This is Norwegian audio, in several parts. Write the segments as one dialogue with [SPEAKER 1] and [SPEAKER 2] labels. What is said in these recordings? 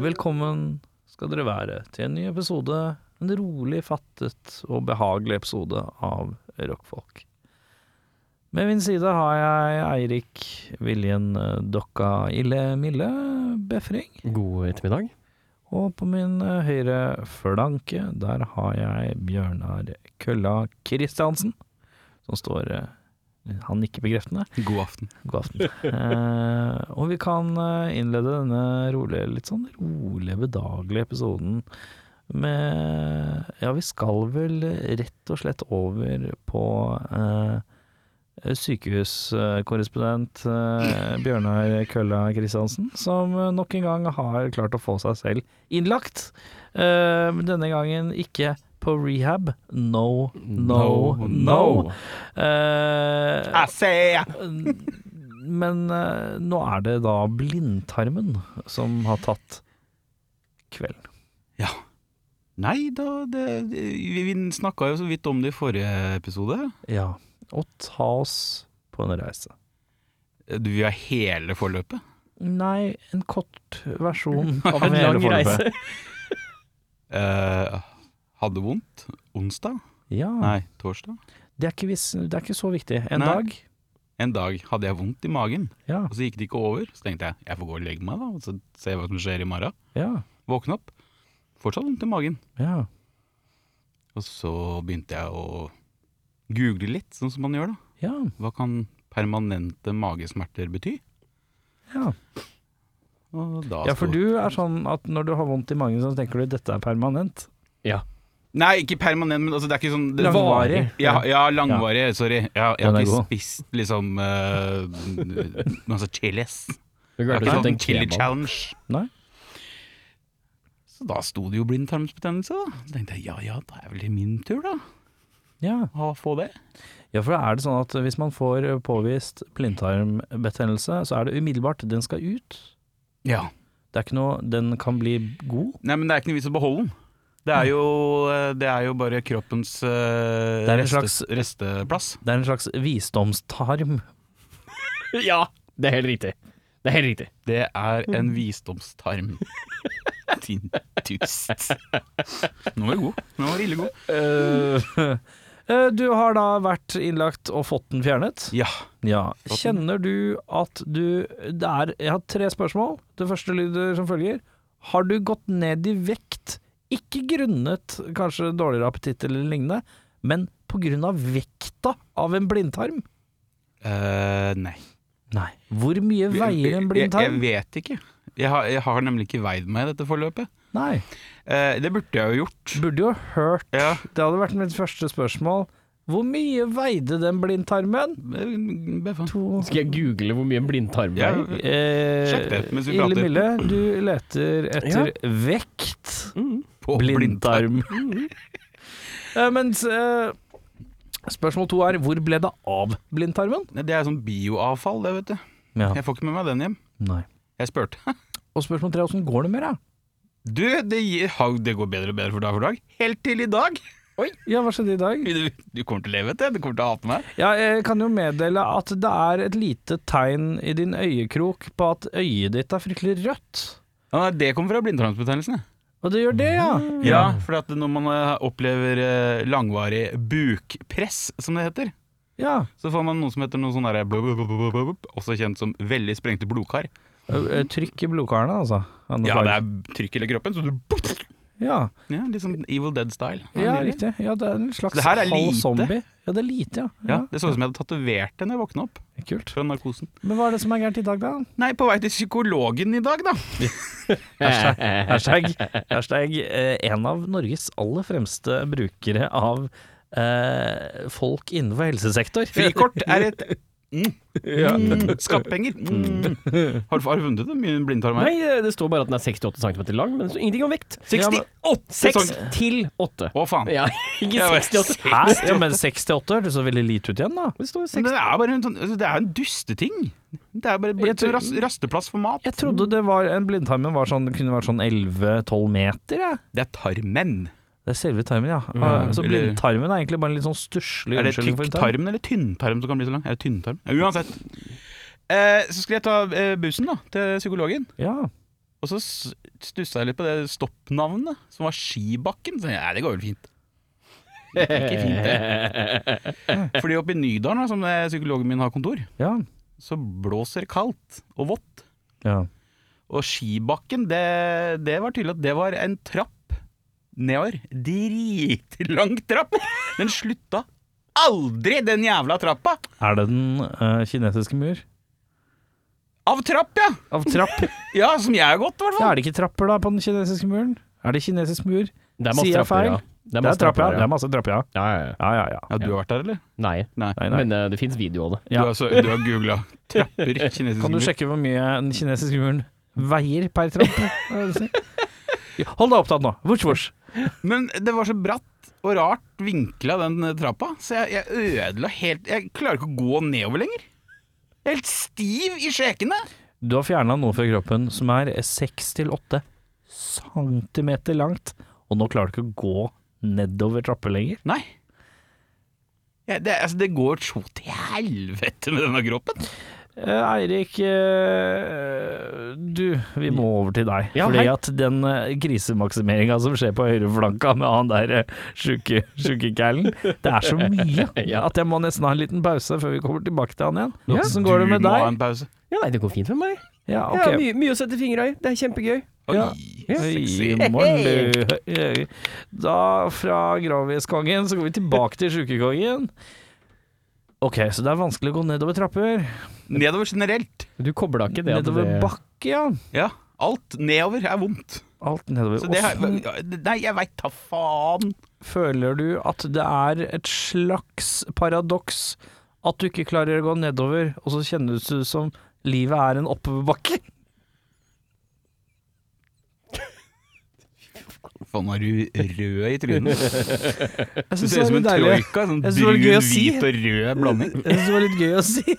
[SPEAKER 1] Velkommen skal dere være til en ny episode, en rolig fattet og behagelig episode av Rockfolk. Med min side har jeg Eirik Viljen eh, Dokka Ille Mille Befring.
[SPEAKER 2] God ettermiddag.
[SPEAKER 1] Og på min eh, høyre flanke, der har jeg Bjørnar Kølla Kristiansen, som står eh, Han nikker bekreftende.
[SPEAKER 3] God aften.
[SPEAKER 1] God aften. Eh, og vi kan eh, innlede denne rolige, litt sånn rolige, bedagelige episoden med Ja, vi skal vel rett og slett over på eh, sykehuskorrespondent eh, Bjørnar Kølla Kristiansen, som eh, nok en gang har klart å få seg selv innlagt. Eh, men denne gangen ikke på rehab. No, no, no. Eh, men eh, nå er det da blindtarmen som har tatt kvelden.
[SPEAKER 3] Nei da, det, vi, vi snakka jo så vidt om det i forrige episode.
[SPEAKER 1] Ja. Og ta oss på en reise.
[SPEAKER 3] Du vil ha hele forløpet?
[SPEAKER 1] Nei, en kort versjon av
[SPEAKER 2] En
[SPEAKER 1] hele
[SPEAKER 2] lang
[SPEAKER 1] forløpet.
[SPEAKER 2] reise.
[SPEAKER 3] Eh, hadde vondt? Onsdag?
[SPEAKER 1] Ja.
[SPEAKER 3] Nei, torsdag?
[SPEAKER 1] Det er, ikke, vis- det er ikke så viktig. En
[SPEAKER 3] Nei.
[SPEAKER 1] dag.
[SPEAKER 3] En dag hadde jeg vondt i magen,
[SPEAKER 1] Ja.
[SPEAKER 3] og så gikk det ikke over. Så tenkte jeg jeg får gå og legge meg, da, og så se hva som skjer i morgen.
[SPEAKER 1] Ja.
[SPEAKER 3] Våkne opp, fortsatt vondt i magen.
[SPEAKER 1] ja.
[SPEAKER 3] Og så begynte jeg å google litt, sånn som man gjør, da.
[SPEAKER 1] Ja.
[SPEAKER 3] Hva kan permanente magesmerter bety?
[SPEAKER 1] Ja.
[SPEAKER 3] Og da
[SPEAKER 1] ja, for
[SPEAKER 3] sto-
[SPEAKER 1] du er sånn at når du har vondt i magen, så tenker du dette er permanent.
[SPEAKER 3] Nei, ikke permanent, men altså, det er ikke sånn det,
[SPEAKER 1] Langvarig.
[SPEAKER 3] Ja, ja langvarig. Sorry. Jeg, jeg
[SPEAKER 1] Den
[SPEAKER 3] har
[SPEAKER 1] er
[SPEAKER 3] ikke
[SPEAKER 1] god.
[SPEAKER 3] spist liksom eh, masse chilis.
[SPEAKER 2] Du
[SPEAKER 3] Jeg har
[SPEAKER 2] klarte å
[SPEAKER 3] ikke
[SPEAKER 2] sette
[SPEAKER 3] sånn
[SPEAKER 2] en
[SPEAKER 3] chili
[SPEAKER 2] kebab.
[SPEAKER 3] challenge.
[SPEAKER 1] Nei.
[SPEAKER 3] Så da sto det jo blindtarmsbetennelse, da. Så tenkte jeg ja ja, da er vel det min tur, da.
[SPEAKER 1] Ja.
[SPEAKER 3] Å få det.
[SPEAKER 1] ja, for er det sånn at hvis man får påvist blindtarmbetennelse, så er det umiddelbart den skal ut.
[SPEAKER 3] Ja.
[SPEAKER 1] Det er ikke noe Den kan bli god.
[SPEAKER 3] Nei, men det er ikke noe vits å beholde den. Det er jo, eh, det er jo bare kroppens eh,
[SPEAKER 1] Det er en
[SPEAKER 3] reste,
[SPEAKER 1] slags-
[SPEAKER 3] resteplass.
[SPEAKER 1] Det er en slags visdomstarm.
[SPEAKER 2] Ja, det er helt riktig. Det er helt riktig.
[SPEAKER 3] Det er en visdomstarm. Mm. Din dust. Nå var du god. Nå var du ille god.
[SPEAKER 1] Eh, Du har da vært innlagt og fått den fjernet.
[SPEAKER 3] Ja.
[SPEAKER 1] Ja.
[SPEAKER 3] den.
[SPEAKER 1] Kjenner du at du Det er Jeg har tre spørsmål. Det første lyder som følger. Har du gått ned i vekt, ikke grunnet kanskje dårligere appetitt eller lignende, men på grunn av vekta av en blindtarm?
[SPEAKER 3] Eh, nei.
[SPEAKER 1] Nei. Hvor mye veier en blindtarm?
[SPEAKER 3] Jeg, jeg vet ikke. Jeg har, jeg har nemlig ikke veid meg i dette forløpet.
[SPEAKER 1] Nei.
[SPEAKER 3] Eh, det burde jeg jo gjort.
[SPEAKER 1] Burde jo hørt
[SPEAKER 3] Ja,
[SPEAKER 1] Det hadde vært mitt første spørsmål. Hvor mye veide den blindtarmen?
[SPEAKER 3] Befan.
[SPEAKER 1] To
[SPEAKER 2] Skal jeg google hvor mye en blindtarm
[SPEAKER 3] Ja,
[SPEAKER 2] veier?
[SPEAKER 1] eh,
[SPEAKER 3] Sjekk det mens vi
[SPEAKER 1] Ille
[SPEAKER 3] prater.
[SPEAKER 1] Mille, du leter etter vekt.
[SPEAKER 2] Mm.
[SPEAKER 3] på
[SPEAKER 1] Blindtarm. Eh, mens eh, spørsmål to er hvor ble det av blindtarmen?
[SPEAKER 3] Nei, Det er sånn bioavfall, det, vet du.
[SPEAKER 1] Ja,
[SPEAKER 3] Jeg får ikke med meg den hjem.
[SPEAKER 1] nei.
[SPEAKER 3] Jeg spurte.
[SPEAKER 1] Og spørsmål tre, åssen går det med deg?
[SPEAKER 3] Du, det, gir- ha- det går bedre og bedre for dag for dag. Helt til i dag.
[SPEAKER 1] Ja, hva skjedde i dag?
[SPEAKER 3] Du, du kommer til å leve etter det. Du kommer til å hate meg.
[SPEAKER 1] Ja, jeg kan jo meddele at det er et lite tegn i din øyekrok på at øyet ditt er fryktelig rødt.
[SPEAKER 3] Ja, nei, det kommer fra blindtarmsbetennelsen. ja.
[SPEAKER 1] Og det gjør det, ja.
[SPEAKER 3] Ja, for at når man eh, opplever eh, langvarig bukpress, som det heter,
[SPEAKER 1] Ja.
[SPEAKER 3] så får man noe som heter noe sånn derre blub, blub, blub, blub, blub, også kjent som veldig sprengte blodkar.
[SPEAKER 1] Eh, Trykk i blodkarene, altså. av noe
[SPEAKER 3] Ja,
[SPEAKER 1] slag.
[SPEAKER 3] det er trykk i hele kroppen, så du
[SPEAKER 1] ja.
[SPEAKER 3] ja, Litt sånn Evil Dead-style.
[SPEAKER 1] ja, riktig. Ja, det er en slags
[SPEAKER 3] Det her er
[SPEAKER 1] halv
[SPEAKER 3] lite.
[SPEAKER 1] zombie. Ja, det er lite, ja.
[SPEAKER 3] Ja, det så ut som jeg hadde tatovert det når jeg våkna opp
[SPEAKER 1] ja. Kult.
[SPEAKER 3] fra narkosen.
[SPEAKER 1] Men hva er det som er gærent i dag, da?
[SPEAKER 3] Nei, på vei til psykologen i dag, da.
[SPEAKER 1] Hashtag, hashtag eh, en av Norges aller fremste brukere av eh, folk innenfor helsesektor.
[SPEAKER 3] Frikort er et mm, mm, Skattpenger. Mm. Har, du- har du funnet ut hvor mye en blindtarm er?
[SPEAKER 2] Nei, det står bare at den er 68 cm lang, men det står ingenting om vekt.
[SPEAKER 3] 68
[SPEAKER 2] 6
[SPEAKER 3] cm!
[SPEAKER 2] til 8.
[SPEAKER 3] Å, faen.
[SPEAKER 2] Ja, ikke
[SPEAKER 3] Jeg var
[SPEAKER 2] 68.
[SPEAKER 1] Hæ? Ja, men 68 hørtes så veldig lite ut igjen, da.
[SPEAKER 2] Det står
[SPEAKER 3] Men
[SPEAKER 2] 6.
[SPEAKER 3] det er bare en sånn altså, Det er en dusteting. Det er bare blitt
[SPEAKER 1] Jeg tror-
[SPEAKER 3] en ras- rasteplass for mat.
[SPEAKER 1] Jeg trodde det var en blindtarmen var sånn, kunne vært sånn 11-12 meter, jeg.
[SPEAKER 3] Det er tarmen.
[SPEAKER 1] Det er selve tarmen, ja.
[SPEAKER 2] Ja,
[SPEAKER 1] Ah, så
[SPEAKER 3] eller-
[SPEAKER 1] blindtarmen er egentlig bare en litt sånn stusslig
[SPEAKER 3] Er det
[SPEAKER 1] unnskyldning for en tarm.
[SPEAKER 3] tykktarmen eller tynntarm som kan bli så lang? Er det tynntarm? Ja, Uansett. Eh, så skulle jeg ta eh, bussen da, til psykologen.
[SPEAKER 1] Ja.
[SPEAKER 3] Og så s- stussa jeg litt på det stoppnavnet, som var Skibakken. Så jeg, Nei, det går vel fint. Det er ikke fint, det. Fordi oppe i Nydalen, da, som eh, psykologen min har kontor,
[SPEAKER 1] Ja.
[SPEAKER 3] så blåser det kaldt og vått.
[SPEAKER 1] ja.
[SPEAKER 3] Og Skibakken, det, det var tydelig at det var en trapp nedover. Dritlang trapp! Den slutta aldri, den jævla trappa!
[SPEAKER 1] Er det den eh, kinesiske mur?
[SPEAKER 3] Av trapp, ja!
[SPEAKER 1] Av trapp?
[SPEAKER 3] Ja, som jeg har gått, i hvert
[SPEAKER 1] Ja,
[SPEAKER 3] fall.
[SPEAKER 1] er det ikke trapper da på den kinesiske muren? Er det kinesisk mur?
[SPEAKER 2] Det er
[SPEAKER 1] Sier
[SPEAKER 2] masse
[SPEAKER 1] jeg
[SPEAKER 2] trapper,
[SPEAKER 1] feil?
[SPEAKER 2] ja.
[SPEAKER 1] Det er trapper, ja. Det er masse trapper, ja.
[SPEAKER 2] Ja, ja, ja.
[SPEAKER 1] Ja, ja, ja.
[SPEAKER 3] Ja, du har vært der, eller?
[SPEAKER 2] Nei.
[SPEAKER 3] Nei.
[SPEAKER 1] Nei, nei.
[SPEAKER 2] Men eh, det fins video av det.
[SPEAKER 1] Ja.
[SPEAKER 3] Du, har, så- du har googla trapper kinesisk
[SPEAKER 1] Kan du
[SPEAKER 3] mur.
[SPEAKER 1] sjekke hvor mye den kinesiske muren veier per trapp? Hva er det du sier? Hold deg opptatt nå. Vurs, vurs.
[SPEAKER 3] Men det var så bratt og rart vinkla, den eh, trappa, så jeg, jeg ødela helt Jeg klarer ikke å gå nedover lenger. Jeg er Helt stiv i skjekene!
[SPEAKER 1] Du har fjerna noe fra kroppen som er 6-8 centimeter langt, og nå klarer du ikke å gå nedover trapper lenger.
[SPEAKER 3] Nei. Jeg, det, altså, det går så til helvete med denne kroppen.
[SPEAKER 1] Eh, Eirik, eh, du, vi må over til deg.
[SPEAKER 2] Ja,
[SPEAKER 1] fordi
[SPEAKER 2] hei.
[SPEAKER 1] at den eh, krisemaksimeringa som skjer på høyreflanka med han der eh, sjuke sjuke kælen, det er så mye
[SPEAKER 2] Ja.
[SPEAKER 1] at jeg må nesten ha en liten pause før vi kommer tilbake til han igjen. Hvordan går det med
[SPEAKER 3] Du må ha
[SPEAKER 1] deg?
[SPEAKER 3] en pause.
[SPEAKER 2] Ja, nei, det går fint med meg.
[SPEAKER 1] Ja,
[SPEAKER 2] Jeg har
[SPEAKER 1] ok.
[SPEAKER 2] mye, mye å sette fingra i. Det er kjempegøy.
[SPEAKER 3] Oi,
[SPEAKER 1] Ja.
[SPEAKER 3] sexy.
[SPEAKER 1] Hei, morgen, du. Da fra Graviskongen så går vi tilbake til sjukekongen. Ok, så det er vanskelig å gå nedover trapper.
[SPEAKER 3] Nedover generelt.
[SPEAKER 2] Du kobla ikke det at
[SPEAKER 1] Nedover
[SPEAKER 2] det-
[SPEAKER 1] bakke, ja.
[SPEAKER 3] Ja. Alt nedover er vondt.
[SPEAKER 1] Alt nedover.
[SPEAKER 3] Så det har,
[SPEAKER 1] Åssen
[SPEAKER 3] nei, jeg veit da faen.
[SPEAKER 1] føler du at det er et slags paradoks at du ikke klarer å gå nedover, og så kjennes det ut som livet er en oppoverbakke?
[SPEAKER 3] Faen, er du rød i trynet?
[SPEAKER 1] Jeg
[SPEAKER 3] Du
[SPEAKER 1] synes
[SPEAKER 3] ser ut som en
[SPEAKER 1] deilig.
[SPEAKER 3] troika. Sånn
[SPEAKER 1] Jeg synes det var
[SPEAKER 3] brun,
[SPEAKER 1] litt gøy å si.
[SPEAKER 3] hvit og rød blanding.
[SPEAKER 1] Jeg synes det var litt gøy å si.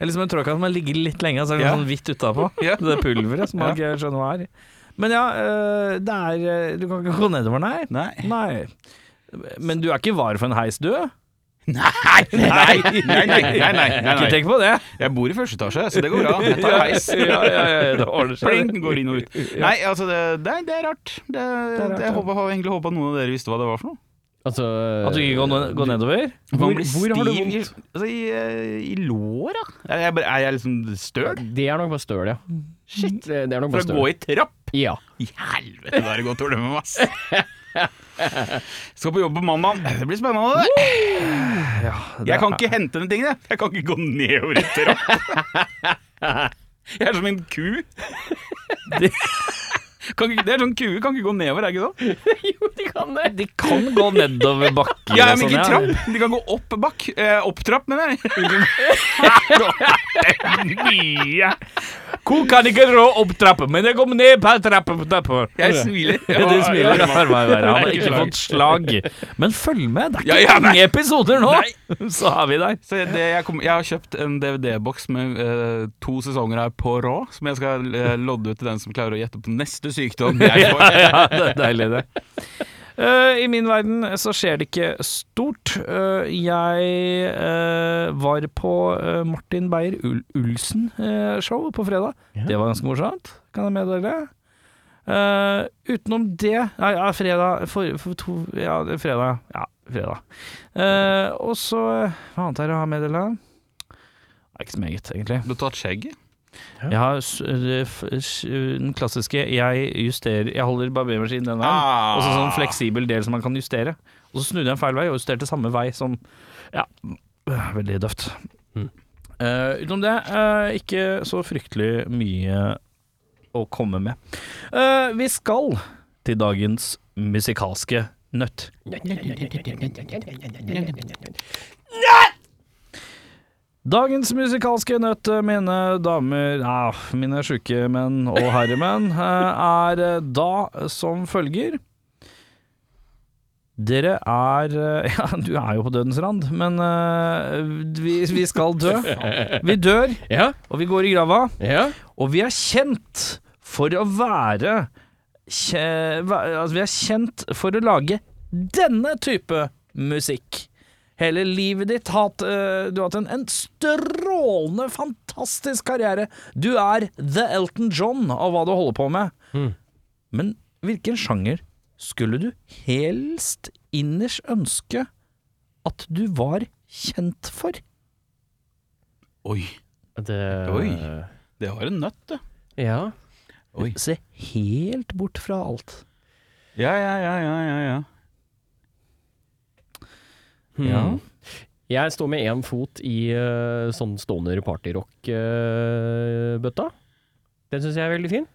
[SPEAKER 1] Eller som en tråkka som har ligget litt lenge, så er det
[SPEAKER 3] Ja.
[SPEAKER 1] sånn hvitt utapå.
[SPEAKER 3] Ja.
[SPEAKER 1] Det er pulveret som man
[SPEAKER 3] Ja.
[SPEAKER 1] ikke skjønner hva er. Men ja, øh, det er øh, Du kan ikke gå nedover, nei.
[SPEAKER 3] Nei.
[SPEAKER 1] Nei. Men du er ikke var for en heis, du?
[SPEAKER 3] Nei, nei, nei, nei, nei, nei,
[SPEAKER 1] Ikke
[SPEAKER 3] nei, nei.
[SPEAKER 1] tenk på det.
[SPEAKER 3] Jeg bor i første etasje, så det går bra. Jeg tar heis.
[SPEAKER 1] Ja, ja, ja, det ordner seg.
[SPEAKER 3] Pling, går inn og ut. Nei, altså, det, det, er, det er rart. Det,
[SPEAKER 1] er rart,
[SPEAKER 3] jeg
[SPEAKER 1] ja.
[SPEAKER 3] håper, har egentlig håpa noen av dere visste hva det var for noe.
[SPEAKER 2] Altså
[SPEAKER 1] At du ikke går, ne- går nedover?
[SPEAKER 3] Man
[SPEAKER 2] Hvor-
[SPEAKER 3] blir
[SPEAKER 2] hvor har du
[SPEAKER 3] stiv i-
[SPEAKER 2] vondt?
[SPEAKER 3] Altså, i, eh, i låra. Er jeg, bare- er jeg liksom støl?
[SPEAKER 2] Det er nok bare støl, ja. Shit. Det, det er nok
[SPEAKER 3] For å
[SPEAKER 2] bare støl.
[SPEAKER 3] gå i trapp?
[SPEAKER 2] Ja.
[SPEAKER 3] I helvete, da er det godt å ordne med masse. Skal på jobb på mandag. Det blir spennende. det.
[SPEAKER 1] Det
[SPEAKER 3] Jeg kan
[SPEAKER 1] er-
[SPEAKER 3] ikke hente de tingene. Jeg kan ikke gå nedover i trapp. Jeg er som en ku.
[SPEAKER 1] Det-
[SPEAKER 3] Kan ikke, det er sånn Kuer kan ikke gå nedover, er det ikke sånn?
[SPEAKER 2] jo, de kan det.
[SPEAKER 1] De kan gå nedover bakker
[SPEAKER 3] Ja,
[SPEAKER 1] og
[SPEAKER 3] men
[SPEAKER 1] sånn,
[SPEAKER 3] ikke i
[SPEAKER 1] ja.
[SPEAKER 3] trapp. De kan gå opp bakk. Eh, opp trapp, mener jeg.
[SPEAKER 1] Ja. Ko kan ikke rå opp trapper, men jeg kommer ned per trappe. trappe.
[SPEAKER 3] Jeg smiler.
[SPEAKER 1] Ja, du smiler.
[SPEAKER 3] Ja,
[SPEAKER 1] Han har ikke
[SPEAKER 3] slag.
[SPEAKER 1] fått slag. Men følg med, det er ikke
[SPEAKER 3] Ja, ja, nei.
[SPEAKER 1] mange episoder nå! Så er vi der.
[SPEAKER 3] Så det, jeg, kom, jeg har kjøpt en DVD-boks med eh, to sesonger av Poirot, som jeg skal eh, lodde ut til den som klarer å gjette på neste sykdom. Jeg får.
[SPEAKER 1] Ja, det er deilig, det. Eh, I min verden så skjer det ikke stort. Eh, jeg eh, var på eh, Martin Beyer-Ulsen-show eh, på fredag.
[SPEAKER 2] Ja.
[SPEAKER 1] Det var ganske morsomt, kan jeg meddele. Eh, utenom det Nei, ja, fredag for, for to, Ja, det er fredag. Ja, fredag. Eh, og så Hva annet er det jeg har meddela? Ikke så meget, egentlig.
[SPEAKER 3] Du har tatt skjegget?
[SPEAKER 1] Jeg har s- det f- s- den klassiske Jeg justerer Jeg holder barbermaskinen den veien.
[SPEAKER 3] Ah.
[SPEAKER 1] Og så sånn fleksibel del som man kan justere. Og så snudde jeg en feil vei og justerte samme vei som Ja, øh, veldig døvt.
[SPEAKER 2] Mm.
[SPEAKER 1] Eh, utenom det, eh, ikke så fryktelig mye å komme med. Eh, vi skal til dagens musikalske nøtt. Dagens musikalske nøtt, eh, mine damer, ja, mine sjuke menn og herremenn, eh, er eh, da som følger. Dere er eh, Ja, du er jo på dødens rand, men eh, vi, vi skal dø. Vi dør,
[SPEAKER 2] Ja,
[SPEAKER 1] og vi går i grava.
[SPEAKER 2] ja.
[SPEAKER 1] Og vi er kjent for å være kje, væ- altså Vi er kjent for å lage denne type musikk. Hele livet ditt hatt eh, Du har hatt en, en strålende, fantastisk karriere. Du er The Elton John av hva du holder på med.
[SPEAKER 2] Mm.
[SPEAKER 1] Men hvilken sjanger skulle du helst innerst ønske at du var kjent for?
[SPEAKER 3] Oi,
[SPEAKER 2] Det
[SPEAKER 3] Oi. det var en nøtt, det.
[SPEAKER 2] Ja.
[SPEAKER 3] Oi.
[SPEAKER 1] Se helt bort fra alt.
[SPEAKER 3] Ja, ja, ja, ja, ja, ja.
[SPEAKER 2] Hmm.
[SPEAKER 1] Ja.
[SPEAKER 2] Jeg står med én fot i eh, sånn stoner partyrock-bøtta. Den syns jeg er veldig fin.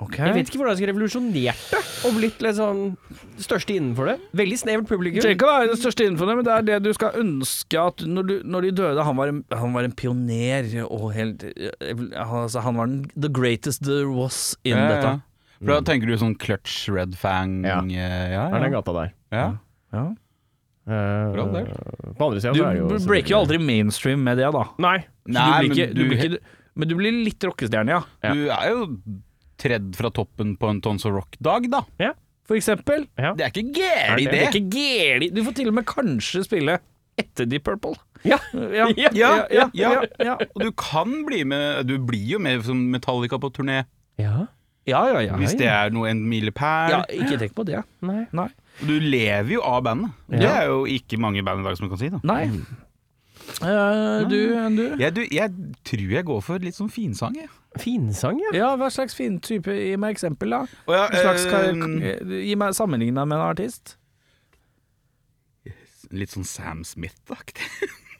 [SPEAKER 1] Ok.
[SPEAKER 2] Jeg vet ikke hvordan jeg skulle revolusjonert det, og blitt litt sånn det største innenfor det. Veldig snevert
[SPEAKER 1] Det
[SPEAKER 2] publikum.
[SPEAKER 1] trenger ikke å være den største innenfor det, men det er det du skal ønske at når, du, når de døde Han var en, han var en pioner og helt altså, Han var den, the greatest there was in
[SPEAKER 3] ja, ja.
[SPEAKER 1] dette.
[SPEAKER 3] For da tenker du sånn clutch, red fang
[SPEAKER 2] Ja.
[SPEAKER 3] eh, Ja,
[SPEAKER 2] Det er den
[SPEAKER 3] ja.
[SPEAKER 2] gata der.
[SPEAKER 3] ja.
[SPEAKER 1] Ja.
[SPEAKER 2] Eh,
[SPEAKER 3] Bra del.
[SPEAKER 2] på andre sida
[SPEAKER 1] Du
[SPEAKER 2] så er det jo
[SPEAKER 1] b- breaker jo aldri mainstream med det, da.
[SPEAKER 2] Nei.
[SPEAKER 1] Så
[SPEAKER 3] Nei,
[SPEAKER 1] du blir ikke,
[SPEAKER 3] men
[SPEAKER 1] du
[SPEAKER 3] du-
[SPEAKER 1] blir ikke, men du blir litt rockestjerne, ja.
[SPEAKER 2] Ja.
[SPEAKER 3] Du er jo tredd fra toppen på en Tons of Rock-dag, da.
[SPEAKER 1] For eksempel.
[SPEAKER 2] Ja.
[SPEAKER 3] Det er ikke gæli,
[SPEAKER 2] Er
[SPEAKER 3] det.
[SPEAKER 1] Det er ikke gæli. Du får til og med kanskje spille etter Deep Purple.
[SPEAKER 2] Ja.
[SPEAKER 1] Ja,
[SPEAKER 2] Ja,
[SPEAKER 1] ja,
[SPEAKER 3] ja,
[SPEAKER 1] ja, ja.
[SPEAKER 3] Og du kan bli med Du blir jo med som Metallica på turné,
[SPEAKER 2] ja.
[SPEAKER 1] Ja, ja, ja.
[SPEAKER 3] hvis det er noe en
[SPEAKER 1] ja
[SPEAKER 3] milepæl.
[SPEAKER 1] ikke tenk på det.
[SPEAKER 2] Nei.
[SPEAKER 1] Nei.
[SPEAKER 3] Du lever jo av bandet. Det
[SPEAKER 2] Ja.
[SPEAKER 3] er jo ikke mange band i dag som kan si det.
[SPEAKER 1] Nei. Eh, du, du
[SPEAKER 3] Jeg, du, jeg tror jeg går for litt sånn finsang, jeg.
[SPEAKER 2] Finsang, ja.
[SPEAKER 1] Ja, hva slags fin type? Gi meg eksempel, da.
[SPEAKER 3] Og ja,
[SPEAKER 1] Hva slags kar-
[SPEAKER 3] eh,
[SPEAKER 1] Gi meg sammenligna med en artist.
[SPEAKER 3] litt sånn Sam Smith-aktig.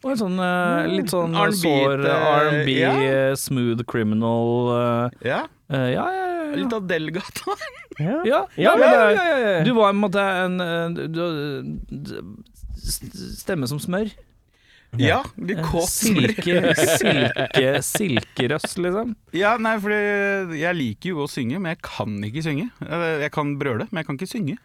[SPEAKER 1] Og en sånn eh, litt sånn
[SPEAKER 3] Mm, R&B,
[SPEAKER 1] sår
[SPEAKER 3] eh,
[SPEAKER 1] R&B,
[SPEAKER 3] ja.
[SPEAKER 1] eh, smooth criminal eh,
[SPEAKER 3] Ja,
[SPEAKER 1] eh, Ja, ja, ja, ja.
[SPEAKER 3] litt Adele-gata.
[SPEAKER 2] Ja.
[SPEAKER 1] Ja,
[SPEAKER 2] Ja,
[SPEAKER 1] ja, men
[SPEAKER 2] ja,
[SPEAKER 1] det-
[SPEAKER 2] ja, ja, ja.
[SPEAKER 1] Du var på en måte en eh, du, du, Stemme som smør.
[SPEAKER 3] Ja, litt kåt.
[SPEAKER 1] Silke, silke, silkerøst, liksom.
[SPEAKER 3] Ja, nei, for jeg liker jo å synge, men jeg kan ikke synge. Eh, Jeg kan brøle, men jeg kan ikke synge.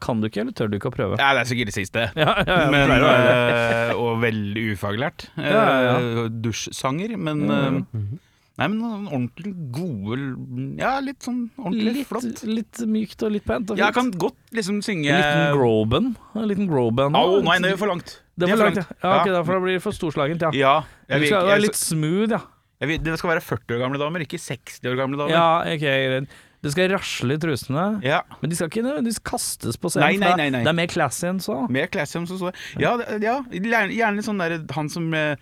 [SPEAKER 1] Kan du ikke, eller tør du ikke å prøve?
[SPEAKER 3] Nei, det er sikkert det siste.
[SPEAKER 1] Ja, ja, ja,
[SPEAKER 3] men,
[SPEAKER 1] pleier å være det.
[SPEAKER 3] eh, og veldig ufaglært. Eh,
[SPEAKER 1] Ja,
[SPEAKER 3] Dusjsanger, men eh,
[SPEAKER 1] Mhm.
[SPEAKER 3] Nei, men noen ordentlig gode Ja, litt sånn ordentlig flott.
[SPEAKER 1] litt, litt mykt og litt pent. Og
[SPEAKER 3] Jeg
[SPEAKER 1] fint.
[SPEAKER 3] kan godt liksom synge
[SPEAKER 1] En liten Groben. En liten Groben.
[SPEAKER 3] Au, nei, det er for langt.
[SPEAKER 1] Det er for langt, ja. ja ok,
[SPEAKER 3] ja.
[SPEAKER 1] da, for da blir det for storslagent, ja.
[SPEAKER 3] Ja, jeg
[SPEAKER 1] Du
[SPEAKER 3] vil,
[SPEAKER 1] skal
[SPEAKER 3] ikke-
[SPEAKER 1] være
[SPEAKER 3] jeg,
[SPEAKER 1] litt smooth, ja.
[SPEAKER 3] jeg vil, det skal være 40 år gamle damer, ikke 60 år gamle damer.
[SPEAKER 1] Ja, ok, greit. Det skal rasle i trusene,
[SPEAKER 3] Ja,
[SPEAKER 1] men de skal ikke nødvendigvis kastes på
[SPEAKER 3] Nei, nei,
[SPEAKER 1] scenen. for da-
[SPEAKER 3] nei, nei.
[SPEAKER 1] Det er mer classy enn så.
[SPEAKER 3] Mer classy enn som så. Ja, det- ja gjerne gjerne litt sånn der han som eh,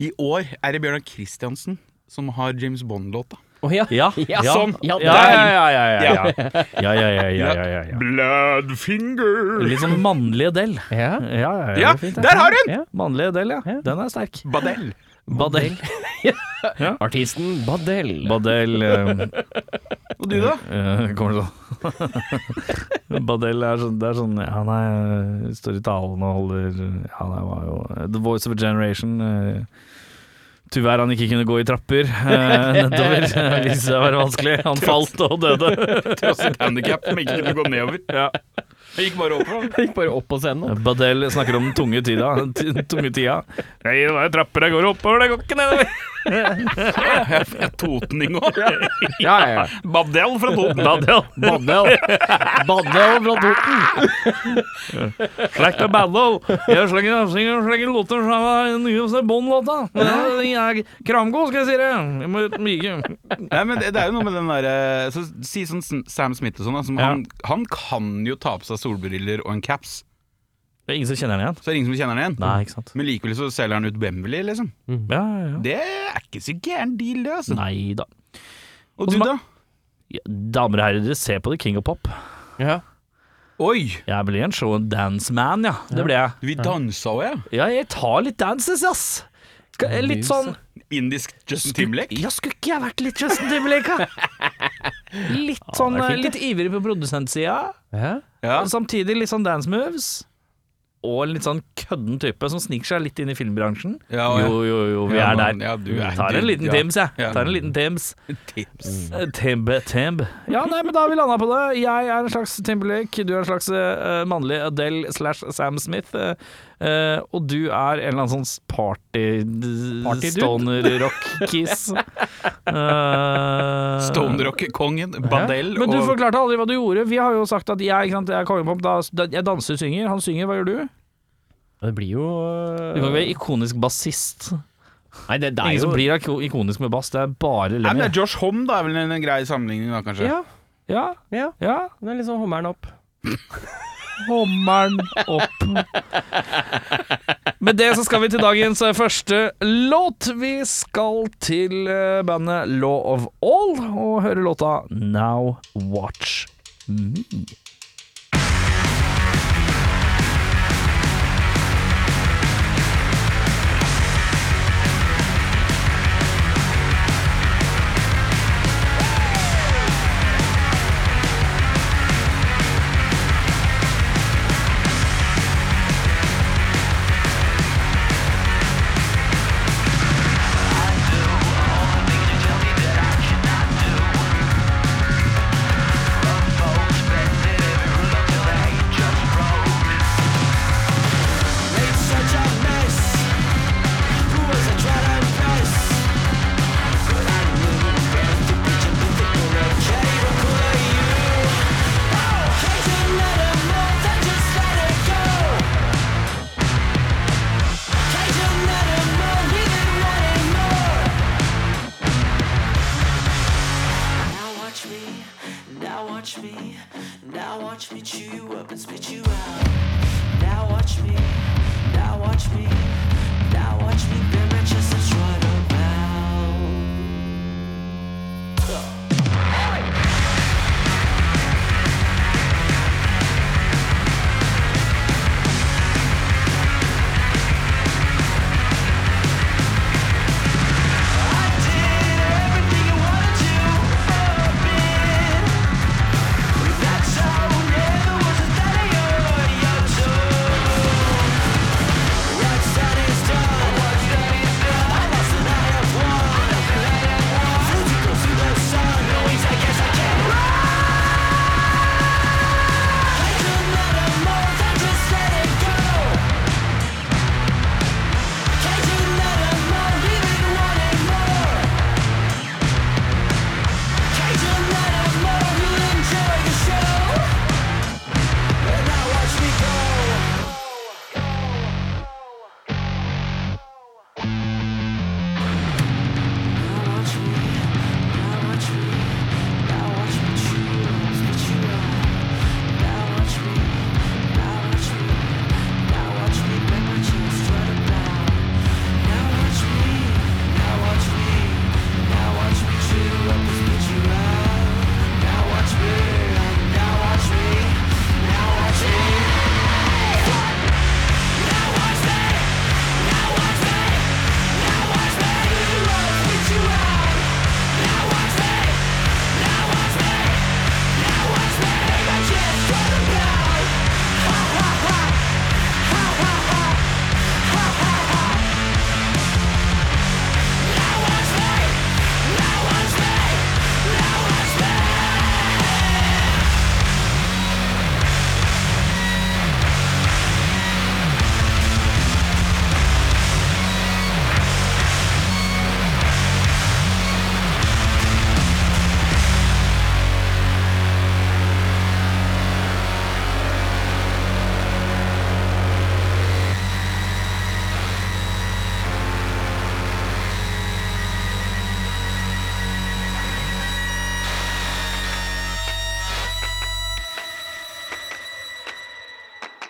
[SPEAKER 3] i år er det Bjørnar Kristiansen som har James Bond-låta.
[SPEAKER 2] Å, ja.
[SPEAKER 1] Ja,
[SPEAKER 2] Ja, sånn. Ja,
[SPEAKER 1] ja,
[SPEAKER 2] der.
[SPEAKER 1] ja, ja, ja, ja, ja, ja, ja, ja, ja, ja, ja.
[SPEAKER 3] Bloodfinger!
[SPEAKER 1] Litt sånn mannlig del.
[SPEAKER 2] Ja.
[SPEAKER 1] Ja, ja, ja,
[SPEAKER 3] Ja,
[SPEAKER 1] det er fint,
[SPEAKER 3] der har hun!
[SPEAKER 1] Ja, mannlig del, ja.
[SPEAKER 2] Ja.
[SPEAKER 1] Den er sterk.
[SPEAKER 3] Badel.
[SPEAKER 1] Badel.
[SPEAKER 2] Artisten Badel.
[SPEAKER 1] Badel
[SPEAKER 3] um,
[SPEAKER 1] eh,
[SPEAKER 3] Og du, da?
[SPEAKER 1] Eh, kommer det sånn Badel er sånn, det er sånn Han er, står i talen og holder Han er, var jo eh, The voice of a generation eh, Tyvärr han ikke kunne gå i trapper eh, Nedover eh, Hvis det var vanskelig Han falt og døde
[SPEAKER 3] Tross et handikap som ikke kunne gå nedover.
[SPEAKER 1] ja.
[SPEAKER 3] Jeg gikk bare over. da.
[SPEAKER 2] Gikk bare opp på scenen.
[SPEAKER 1] Badel snakker om den tunge tida t- Tunge tida Nei, det er trapper Jeg går oppover, det går ikke nedover
[SPEAKER 3] Jeg er totning òg.
[SPEAKER 2] Ja, ja, ja.
[SPEAKER 3] Badel fra Toten.
[SPEAKER 1] Badel
[SPEAKER 2] Badel. Badel fra Toten.
[SPEAKER 1] Slekt av Badel Jeg slenger, jeg slenger, slenger låter Fra den nye Bond-låta Jeg er kramgod, skal jeg si det Jeg må ut mye
[SPEAKER 3] Nei, men det, det er jo noe med den derre så Si sånn Sam- Sam Smith og sånn. da, som
[SPEAKER 1] Ja.
[SPEAKER 3] han, han kan jo ta på seg solbriller og en caps,
[SPEAKER 1] Det er ingen som kjenner den igjen.
[SPEAKER 3] så er det ingen som kjenner han igjen.
[SPEAKER 1] Nei, ikke sant.
[SPEAKER 3] Men likevel så selger han ut Wembley, liksom.
[SPEAKER 1] Ja, Mm. ja, ja.
[SPEAKER 3] Det er ikke så gæren deal, det. altså
[SPEAKER 1] Nei da.
[SPEAKER 3] Og du,
[SPEAKER 1] Også
[SPEAKER 3] da?
[SPEAKER 1] Ja, Damer og herrer, dere ser på The King of Pop.
[SPEAKER 2] Ja.
[SPEAKER 3] Oi!
[SPEAKER 1] Jeg blir en show and dance man, ja. Det ble jeg.
[SPEAKER 3] Vi dansa òg, ja.
[SPEAKER 1] Ja, jeg tar litt dances, ass. Skal- eh, Litt sånn
[SPEAKER 3] Indisk Justin Timberlake.
[SPEAKER 1] Ja, skulle ikke jeg vært litt Justin Timberlake, da? Litt sånn
[SPEAKER 2] det er
[SPEAKER 1] eh,
[SPEAKER 2] fint,
[SPEAKER 1] Litt ivrig på produsentsida.
[SPEAKER 2] ja.
[SPEAKER 3] Ja.
[SPEAKER 1] Samtidig litt sånn dance moves. Og en litt sånn kødden type som sniker seg litt inn i filmbransjen.
[SPEAKER 3] Ja, og-
[SPEAKER 1] Jo, jo, jo, vi
[SPEAKER 3] Ja,
[SPEAKER 1] er
[SPEAKER 3] men-
[SPEAKER 1] der.
[SPEAKER 3] ja, du er-
[SPEAKER 1] Tar en
[SPEAKER 3] du-
[SPEAKER 1] liten
[SPEAKER 3] ja.
[SPEAKER 1] Tims, jeg.
[SPEAKER 3] Ja.
[SPEAKER 1] Tar en liten Tims.
[SPEAKER 3] Tips.
[SPEAKER 1] Timbe, Timbe. Ja, nei, men da har vi landa på det. Jeg er en slags Timberlake, du er en slags eh, mannlig Adele slash Sam Smith. eh, eh, og du er en eller annen sånn party...
[SPEAKER 2] Party dude.
[SPEAKER 1] Stoner-rock-kiss. Eh,
[SPEAKER 3] Stonerock-kongen Badel
[SPEAKER 1] Men du
[SPEAKER 3] og
[SPEAKER 1] forklarte aldri hva du gjorde. Vi har jo sagt at jeg, ikke sant, jeg er kongepop, da, da, jeg danser, synger. Han synger, hva gjør du?
[SPEAKER 2] Det blir jo øh,
[SPEAKER 1] Du kan ikke være ikonisk bassist.
[SPEAKER 2] Nei, det, det er
[SPEAKER 1] Ingen som
[SPEAKER 2] jo
[SPEAKER 1] blir iko- ikonisk med bass, det er bare
[SPEAKER 3] Nei, men det
[SPEAKER 1] Lemmy.
[SPEAKER 3] er Josh Homme, da, er vel en, en grei sammenligning, da, kanskje.
[SPEAKER 2] Ja,
[SPEAKER 1] Ja,
[SPEAKER 2] ja.
[SPEAKER 1] ja.
[SPEAKER 2] Det er liksom hummeren opp.
[SPEAKER 1] Hommeren opp. Med det så skal vi til dagens eh, første låt. Vi skal til eh, bandet Law of All og høre låta Now Watch Me.
[SPEAKER 4] Now watch me, now watch me, now watch me chew you up and spit you out. Now watch me, now watch me, now watch me bear my chest and strut around.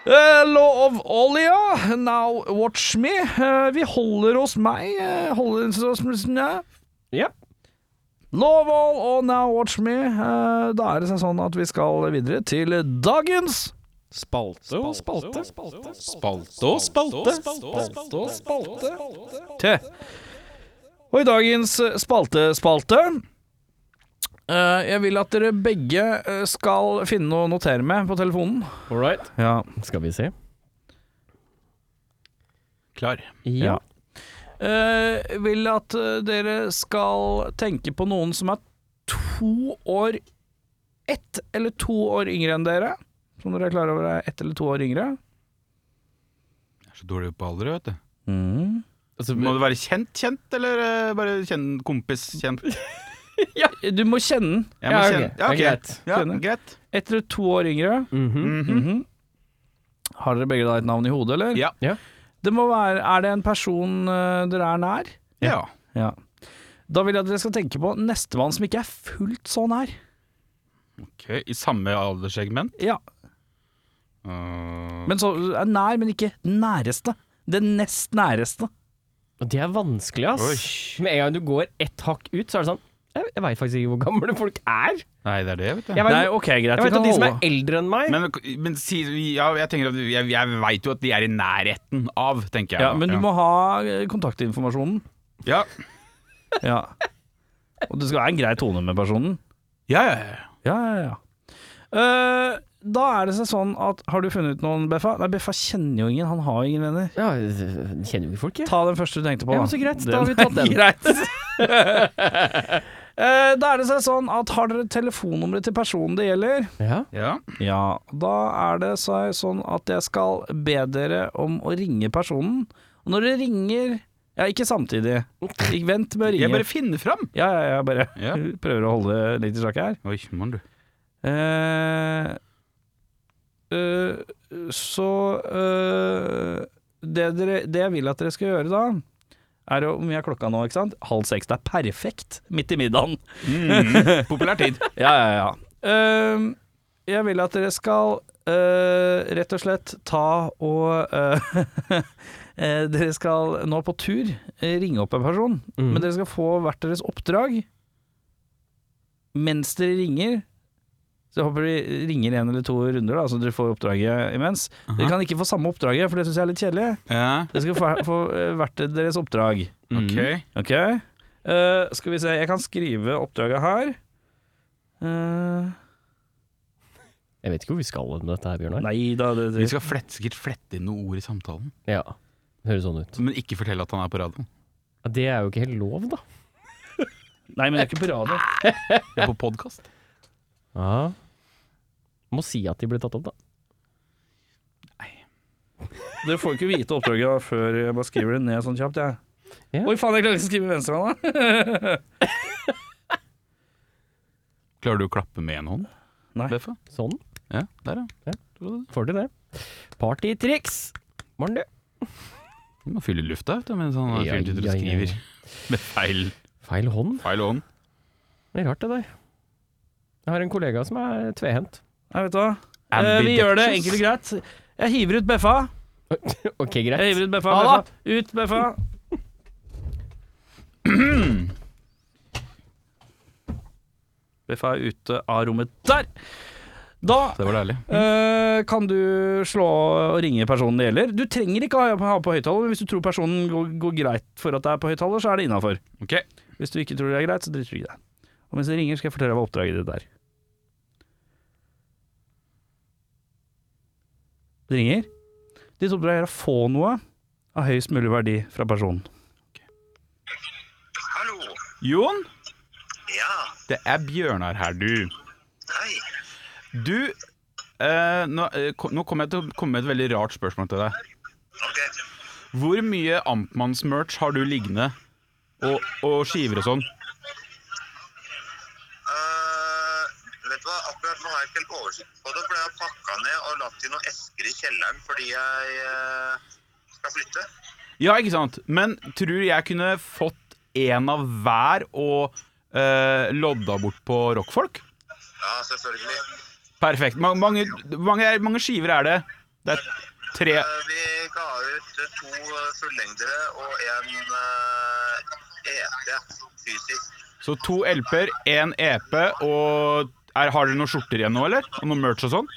[SPEAKER 1] Eh, Law of Olia, Now Watch Me. Eh, vi holder oss meg eh, holder oss med
[SPEAKER 2] Ja.
[SPEAKER 1] Law of All og Now Watch Me. Eh, da er det seg sånn at vi skal videre til dagens
[SPEAKER 2] Spalte og spalte.
[SPEAKER 3] Spalte og spalte.
[SPEAKER 1] Te. Og i dagens spalte-spalte eh, Jeg vil at dere begge eh, skal finne noe å notere med på telefonen.
[SPEAKER 2] All right.
[SPEAKER 1] Ja.
[SPEAKER 2] Skal vi se.
[SPEAKER 3] Klar.
[SPEAKER 2] Ja.
[SPEAKER 1] Eh, vil at eh, dere skal tenke på noen som er to år Ett eller to år yngre enn dere. Som dere er klar over er ett eller to år yngre.
[SPEAKER 3] Jeg er så dårlig på alder, vet du.
[SPEAKER 2] Altså,
[SPEAKER 3] Må det være kjent kjent, eller eh, bare kjent kompis kjent?
[SPEAKER 1] Du må kjenne den.
[SPEAKER 3] Jeg må
[SPEAKER 1] Ja, ok.
[SPEAKER 3] kjenne- ja,
[SPEAKER 2] det er
[SPEAKER 3] ok.
[SPEAKER 2] greit.
[SPEAKER 3] Ja,
[SPEAKER 1] Skjønner.
[SPEAKER 3] greit.
[SPEAKER 1] Ett eller to år yngre.
[SPEAKER 2] Mhm.
[SPEAKER 1] Mhm. Har dere begge da et navn i hodet, eller?
[SPEAKER 3] Ja.
[SPEAKER 2] Ja.
[SPEAKER 1] Det må være, er det en person eh, dere er nær?
[SPEAKER 3] Ja.
[SPEAKER 1] Ja. Da vil jeg at dere skal tenke på nestemann som ikke er fullt så nær.
[SPEAKER 3] Ok, I samme alderssegment?
[SPEAKER 1] Ja,
[SPEAKER 3] Uh,
[SPEAKER 1] men så er nær, men ikke næreste. Det nest næreste.
[SPEAKER 2] Og det er vanskelig, ass. Med en gang du går ett hakk ut, så er det sånn Jeg, jeg veit faktisk ikke hvor gamle folk er.
[SPEAKER 3] nei, det er det, vet du.
[SPEAKER 2] Jeg vet,
[SPEAKER 1] Nei, ok, greit.
[SPEAKER 2] jeg
[SPEAKER 1] Vi
[SPEAKER 2] vet
[SPEAKER 1] kan
[SPEAKER 2] om de som
[SPEAKER 1] holde.
[SPEAKER 2] er eldre enn meg.
[SPEAKER 3] Men, men si, ja, jeg tenker at jeg, jeg veit jo at de er i nærheten av, tenker jeg.
[SPEAKER 1] Ja, men du må ha eh, kontaktinformasjonen.
[SPEAKER 3] Ja,
[SPEAKER 1] Ja. Og det skal være en grei tone med personen.
[SPEAKER 3] ja, ja. ja.
[SPEAKER 1] Ja, ja, ja. Eh, da er det seg sånn at har du funnet ut noen, Beffa? Nei, Beffa kjenner jo ingen, han har jo ingen venner.
[SPEAKER 2] ja, jeg kjenner jo ikke folk, jeg.
[SPEAKER 1] Ta den første du tenkte på.
[SPEAKER 2] Ja, men så greit, da har vi
[SPEAKER 1] er
[SPEAKER 2] tatt den.
[SPEAKER 1] Greit. Eh, da er det seg sånn at har dere telefonnummeret til personen det gjelder?
[SPEAKER 2] Ja.
[SPEAKER 3] ja.
[SPEAKER 1] Ja, da er det seg sånn at jeg skal be dere om å ringe personen. Og når dere ringer Ja, ikke samtidig. Ikke vent med å ringe.
[SPEAKER 3] Jeg bare finner fram.
[SPEAKER 1] Ja, ja, jeg bare
[SPEAKER 3] Ja.
[SPEAKER 1] prøver å holde det litt i sjakk her.
[SPEAKER 3] Oi, mann, du.
[SPEAKER 1] Eh, eh, så eh, det, dere, det jeg vil at dere skal gjøre da, er jo Hvor mye er klokka nå, ikke sant? Halv seks. Det er perfekt midt i middagen.
[SPEAKER 3] Mm, populær tid.
[SPEAKER 1] Ja, ja, ja. Ehm, jeg vil at dere skal eh, rett og slett ta og eh, eh, Dere skal nå på tur eh, ringe opp en person,
[SPEAKER 2] Mm.
[SPEAKER 1] men dere skal få hvert deres oppdrag mens dere ringer. Så jeg håper de ringer en eller to runder, da, så dere får oppdraget imens. Dere kan ikke få samme oppdraget, for det syns jeg er litt kjedelig.
[SPEAKER 3] Ja,
[SPEAKER 1] Dere skal få, få eh, hvert deres oppdrag.
[SPEAKER 2] Mm.
[SPEAKER 3] ok.
[SPEAKER 1] Ok. Eh, skal vi se, jeg kan skrive oppdraget her. Eh,
[SPEAKER 2] Jeg vet ikke hvor vi skal med dette her, Bjørnar.
[SPEAKER 1] nei da, det,
[SPEAKER 3] Vi skal flette, sikkert flette inn noen ord i samtalen,
[SPEAKER 2] Ja. Det høres sånn ut.
[SPEAKER 3] men ikke fortelle at han er på radioen.
[SPEAKER 2] Ja, Det er jo ikke helt lov, da.
[SPEAKER 1] Nei, men det er ikke på radio.
[SPEAKER 3] Det er på podkast.
[SPEAKER 2] Ja. Må si at de ble tatt opp, da.
[SPEAKER 1] Dere får ikke vite oppdraget før jeg bare skriver det ned sånn kjapt, jeg.
[SPEAKER 2] Ja.
[SPEAKER 1] Oi, faen, jeg klarer ikke å skrive venstrehånda.
[SPEAKER 3] Klarer du å klappe med én hånd?
[SPEAKER 1] Nei.
[SPEAKER 3] Beffa?
[SPEAKER 2] Sånn.
[SPEAKER 3] Ja, der, ja.
[SPEAKER 2] Får de det. Partytriks! Morn, du.
[SPEAKER 3] Du må fylle lufta vet du, mens han
[SPEAKER 2] Ja,
[SPEAKER 3] fyller til du
[SPEAKER 2] ja, ja,
[SPEAKER 3] skriver.
[SPEAKER 2] ja.
[SPEAKER 3] Med feil,
[SPEAKER 2] Feil hånd.
[SPEAKER 3] feil hånd.
[SPEAKER 2] Det er rart, det der. Jeg har en kollega som er tvehendt.
[SPEAKER 1] Nei, vet du hva. Eh, vi gjør det enkelt og greit. Jeg hiver ut Beffa.
[SPEAKER 2] ok,
[SPEAKER 1] Jeg
[SPEAKER 2] greit.
[SPEAKER 1] hiver ut Beffa.
[SPEAKER 2] Ha
[SPEAKER 1] beffa. Ut Beffa.
[SPEAKER 3] Mm.
[SPEAKER 1] Beffa er ute av rommet der. Da
[SPEAKER 3] Det var deilig.
[SPEAKER 2] Mm.
[SPEAKER 1] eh, kan du slå og ringe personen det gjelder. Du trenger ikke ha ha på høyttaler. men Hvis du tror personen går, går greit for at det er på høyttaler, så er det innafor.
[SPEAKER 3] Ok,
[SPEAKER 1] Hvis du ikke tror det er greit, så driter du ikke i det. Og mens jeg ringer, skal jeg fortelle deg hva oppdraget ditt er. Det ringer. Ditt oppdrag er å få noe av høyest mulig verdi fra personen.
[SPEAKER 5] Hallo.
[SPEAKER 3] Jon,
[SPEAKER 5] Ja,
[SPEAKER 3] det er Bjørnar her, du.
[SPEAKER 5] hei.
[SPEAKER 3] Du, eh, nå, eh, kom- nå kommer jeg til å komme med et veldig rart spørsmål til deg.
[SPEAKER 5] Ok. Eh,
[SPEAKER 3] Hvor mye Amtmannsmerch har du liggende? Og, og skiver og sånn?
[SPEAKER 5] Eh, vet du hva, akkurat nå har jeg ikke helt oversikt på det, for jeg har pakka ned og lagt i noen esker i kjelleren fordi jeg eh, skal flytte.
[SPEAKER 3] Ja, ikke sant? Men tror du jeg kunne fått en av hver og eh, lodda bort på rockfolk?
[SPEAKER 5] Ja, selvfølgelig.
[SPEAKER 3] Perfekt. Hvor mange, mange, mange skiver er det? Det er tre
[SPEAKER 5] Eh, vi ga ut eh, to eh, fullengdere og en eh, EP fysisk.
[SPEAKER 3] Så to LP-er, én EP E og er, Har dere noen skjorter igjen nå, eller? Og noe merch og sånn?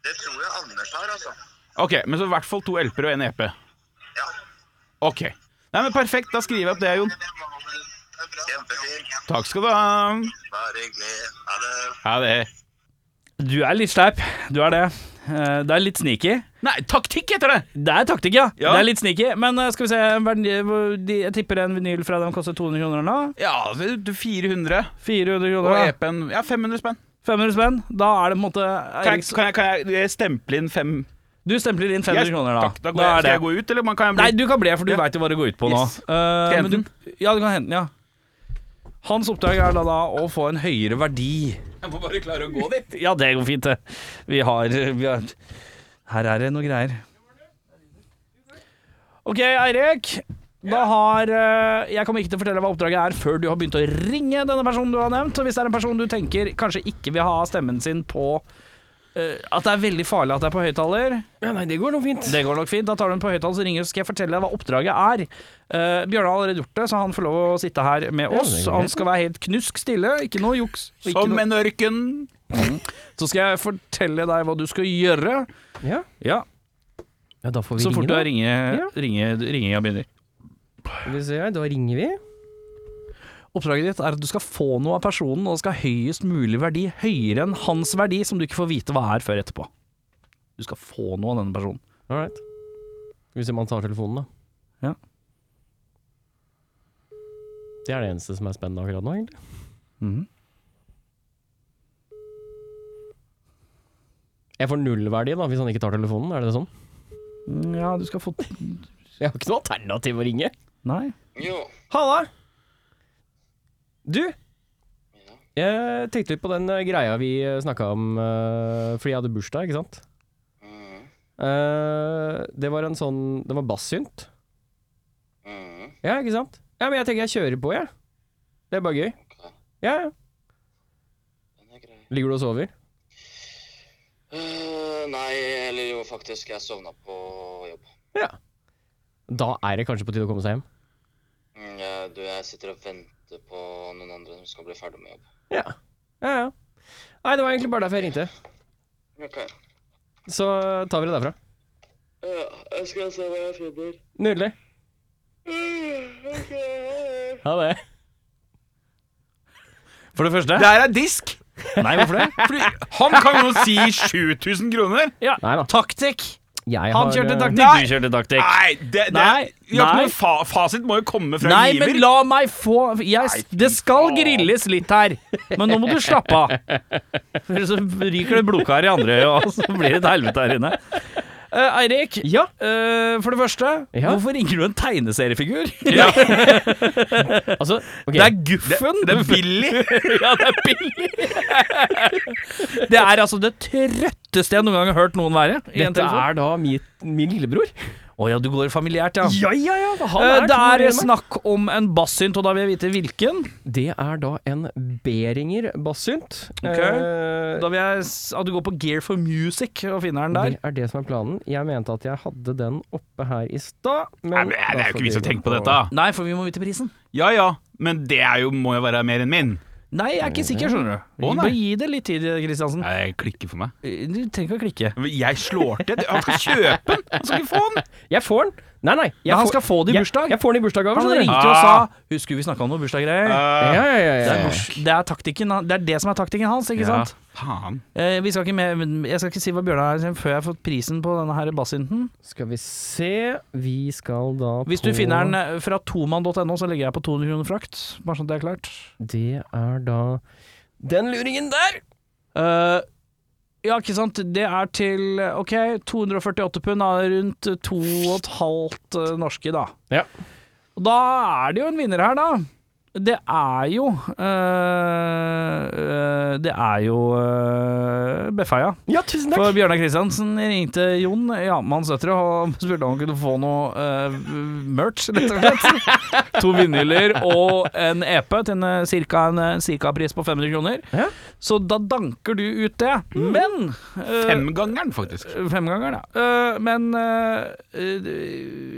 [SPEAKER 5] Det tror jeg Anders har, altså.
[SPEAKER 3] Ok, men så i hvert fall to LP-er og én EP.
[SPEAKER 5] Ja.
[SPEAKER 3] Ok. Nei, men Perfekt. Da skriver jeg opp det, Jon.
[SPEAKER 5] Kjempefint.
[SPEAKER 3] Takk skal du ha.
[SPEAKER 5] Bare hyggelig. Ha det.
[SPEAKER 3] Ha det.
[SPEAKER 1] Du er litt sleip. Du er det. Eh, Det er litt sneaky.
[SPEAKER 3] Nei, taktikk heter det!
[SPEAKER 1] Det er taktikk, ja.
[SPEAKER 3] Ja.
[SPEAKER 1] Det er litt sneaky. Men eh, skal vi se verdi- hvor de- Jeg tipper en vinyl fra dem koster 200 kroner nå.
[SPEAKER 3] Ja, det er 400.
[SPEAKER 1] 400
[SPEAKER 3] Og
[SPEAKER 1] kroner. da.
[SPEAKER 3] EP-en Ja, 500 spenn.
[SPEAKER 1] 500 spenn. Da er det på en måte
[SPEAKER 3] Kan jeg, kan jeg, kan jeg stemple inn fem
[SPEAKER 1] Du stempler inn 500
[SPEAKER 3] Jeg-
[SPEAKER 1] kroner, da.
[SPEAKER 3] Takk, da går jeg,
[SPEAKER 1] er
[SPEAKER 3] skal
[SPEAKER 1] det.
[SPEAKER 3] jeg gå ut, eller man kan jeg bli
[SPEAKER 1] Nei, du kan bli, for du
[SPEAKER 3] Ja.
[SPEAKER 1] vet veit jo hva det går ut på
[SPEAKER 3] Yes.
[SPEAKER 1] nå. Eh,
[SPEAKER 3] Skal jeg hente
[SPEAKER 1] men du, ja, du kan hente den, ja. Hans oppdrag er da, da å få en høyere verdi.
[SPEAKER 3] Jeg må bare klare å gå dit.
[SPEAKER 1] Ja, det går fint, det. Vi har, vi har Her er det noe greier. OK, Eirik. Da har eh, Jeg kommer ikke til å fortelle hva oppdraget er før du har begynt å ringe denne personen du har nevnt. Og hvis det er en person du tenker kanskje ikke vil ha stemmen sin på eh, At det er veldig farlig at det er på høyttaler,
[SPEAKER 2] Ja, nei, det går nå fint.
[SPEAKER 1] det går nok fint. Da tar du den på høyttaler, så ringer du, så skal jeg fortelle deg hva oppdraget er. Eh, Bjørnar har allerede gjort det, så han får lov å sitte her med
[SPEAKER 2] det
[SPEAKER 1] oss.
[SPEAKER 2] går
[SPEAKER 1] Han skal være helt knusk stille, ikke noe juks. og Ikke
[SPEAKER 3] Som
[SPEAKER 1] noe.
[SPEAKER 3] en ørken.
[SPEAKER 1] Så skal jeg fortelle deg hva du skal gjøre.
[SPEAKER 2] Ja.
[SPEAKER 1] Ja,
[SPEAKER 2] ja, da får vi
[SPEAKER 1] så fort
[SPEAKER 2] ringe,
[SPEAKER 1] du
[SPEAKER 2] da.
[SPEAKER 1] har ringe, ringe, ringinga begynner.
[SPEAKER 2] Skal vi se her, da ringer vi.
[SPEAKER 1] Oppdraget ditt er at du skal få noe av personen, og det skal ha høyest mulig verdi, høyere enn hans verdi, som du ikke får vite hva er før etterpå. Du skal få noe av denne personen.
[SPEAKER 2] All right. Skal vi se om han tar telefonen, da.
[SPEAKER 1] Ja.
[SPEAKER 2] Det er det eneste som er spennende akkurat nå, egentlig. Jeg får nullverdi da, hvis han ikke tar telefonen, er det sånn?
[SPEAKER 1] Mm, Ja, du skal få
[SPEAKER 2] Jeg har ikke noe alternativ å ringe.
[SPEAKER 1] Nei.
[SPEAKER 5] Jo.
[SPEAKER 2] Halla! Du? Jeg tenkte litt på den eh, greia vi snakka om eh, fordi jeg hadde bursdag, ikke sant?
[SPEAKER 5] Mhm.
[SPEAKER 2] Eh, det var en sånn Det var bassynt.
[SPEAKER 5] Mhm.
[SPEAKER 2] Ja, ikke sant? Ja, men jeg tenker jeg kjører på, jeg. Det er bare gøy.
[SPEAKER 5] Ok.
[SPEAKER 2] Ja, ja.
[SPEAKER 5] Den er grei.
[SPEAKER 2] Ligger du og sover?
[SPEAKER 5] Eh, nei, eller jo, faktisk. Jeg sovna på jobb.
[SPEAKER 2] Ja. Da er det kanskje på tide å komme seg hjem.
[SPEAKER 5] Mm, jeg- du, jeg sitter og venter på noen andre som skal bli ferdig med jobb.
[SPEAKER 2] Ja. Ja, ja. Nei, det var egentlig bare derfor jeg ringte.
[SPEAKER 5] Ok.
[SPEAKER 2] Så tar vi det derfra.
[SPEAKER 5] Ja, Eh, jeg skal se hva jeg finner. Eh,
[SPEAKER 2] Nydelig. Ha det.
[SPEAKER 1] For det første
[SPEAKER 3] Der er disk!
[SPEAKER 1] Nei, hvorfor det?
[SPEAKER 3] Fordi han kan jo si 7000 kroner!
[SPEAKER 1] Ja,
[SPEAKER 2] Nei da.
[SPEAKER 1] taktikk!
[SPEAKER 2] Jeg
[SPEAKER 1] Han
[SPEAKER 2] har,
[SPEAKER 1] kjørte
[SPEAKER 2] eh,
[SPEAKER 1] taktikk,
[SPEAKER 3] Nei.
[SPEAKER 1] du kjørte taktikk.
[SPEAKER 3] Nei, det, det,
[SPEAKER 1] Nei,
[SPEAKER 3] vi har ikke
[SPEAKER 1] nei.
[SPEAKER 3] noen fa fasit må jo komme fra
[SPEAKER 1] Nei,
[SPEAKER 3] giver.
[SPEAKER 1] men la meg få jeg, Det skal grilles litt her, men nå må du slappe av. For så ryker det blodkar i andre øyet, og så blir det et helvete her inne. Eh, Eirik,
[SPEAKER 2] Ja.
[SPEAKER 1] eh, for det første,
[SPEAKER 2] Ja.
[SPEAKER 1] hvorfor ringer du en tegneseriefigur?
[SPEAKER 2] Altså, ok.
[SPEAKER 1] Det er Guffen!
[SPEAKER 3] Det er billig!
[SPEAKER 1] ja, det er billig! det er altså det trøtteste jeg noen gang har hørt noen være. i en
[SPEAKER 2] Dette
[SPEAKER 1] telefon.
[SPEAKER 2] er da min, min lillebror.
[SPEAKER 1] Å ja, du går familiært, ja.
[SPEAKER 2] ja, ja.
[SPEAKER 1] Eh, det
[SPEAKER 2] det,
[SPEAKER 1] er
[SPEAKER 2] er snakk.
[SPEAKER 1] snakk om en bassynt, og da vil jeg vite hvilken.
[SPEAKER 2] det er da en Beringer bassynt.
[SPEAKER 1] Ok.
[SPEAKER 2] Eh,
[SPEAKER 1] Da vil jeg s- at du går på Gear for Music og finner den der.
[SPEAKER 2] det er det som er planen. Jeg mente at jeg hadde den oppe her i stad, men
[SPEAKER 3] Nei, men Det
[SPEAKER 2] da
[SPEAKER 3] er jo
[SPEAKER 2] får
[SPEAKER 3] ikke vits
[SPEAKER 2] vi
[SPEAKER 3] å
[SPEAKER 2] gå
[SPEAKER 3] tenke på dette.
[SPEAKER 1] Nei, for vi må vite prisen.
[SPEAKER 3] Ja ja, men det er jo, må jo være mer enn min.
[SPEAKER 1] Nei, jeg er ikke sikker, skjønner du.
[SPEAKER 3] Å,
[SPEAKER 1] Vi
[SPEAKER 3] nei.
[SPEAKER 1] bør gi det litt tid, Kristiansen.
[SPEAKER 3] Nei, Det klikker for meg.
[SPEAKER 1] Du trenger ikke å klikke.
[SPEAKER 3] Jeg slår til. Han skal kjøpe den! Han skal ikke få den!
[SPEAKER 2] Jeg får den! Nei, nei. Jeg
[SPEAKER 1] Men han
[SPEAKER 2] får-
[SPEAKER 1] skal få det i
[SPEAKER 2] Jeg-
[SPEAKER 1] bursdag.
[SPEAKER 2] Jeg får sånn den i bursdagsgave.
[SPEAKER 1] Han
[SPEAKER 2] skjønner du.
[SPEAKER 1] ringte jo og sa 'Husker vi snakka om noe bursdagsgreier'?
[SPEAKER 3] Ah. Eh,
[SPEAKER 2] Ja, ja, ja,
[SPEAKER 1] Det
[SPEAKER 2] ja,
[SPEAKER 1] er,
[SPEAKER 2] ja.
[SPEAKER 1] bors- det er taktikken han- Det er det som er taktikken hans, ikke
[SPEAKER 3] Ja,
[SPEAKER 1] sant?
[SPEAKER 3] faen.
[SPEAKER 1] Eh, vi skal ikke med, men jeg skal ikke si hva Bjørnar er før jeg har fått prisen på denne her bassynten.
[SPEAKER 2] Skal vi se Vi skal da
[SPEAKER 1] Hvis
[SPEAKER 2] på
[SPEAKER 1] du finner den eh. fra toman.no, så legger jeg på 200 kroner frakt. Bare sånn at det er klart.
[SPEAKER 2] Det er da Den luringen der!
[SPEAKER 1] Eh, ja, ikke sant. Det er til OK, 248 pund er rundt 2,5 eh, norske, da.
[SPEAKER 2] Ja.
[SPEAKER 1] Og da er det jo en vinner her, da. Det er jo eh, eh, Det er jo uh, Befeia.
[SPEAKER 2] Ja, tusen
[SPEAKER 1] For Bjørnar Kristiansen ringte Jon, jamanns døtre, og spurte om han kunne få noe eh, merch, rett og slett. To vindhyller og en EP til en eh, cirka, en, eh, cirka pris på 500 kroner.
[SPEAKER 2] Ja. Mm.
[SPEAKER 1] Så da danker du ut det. Men eh,
[SPEAKER 3] Femgangeren, faktisk.
[SPEAKER 1] Femgangeren, ja. Eh, men eh, eh,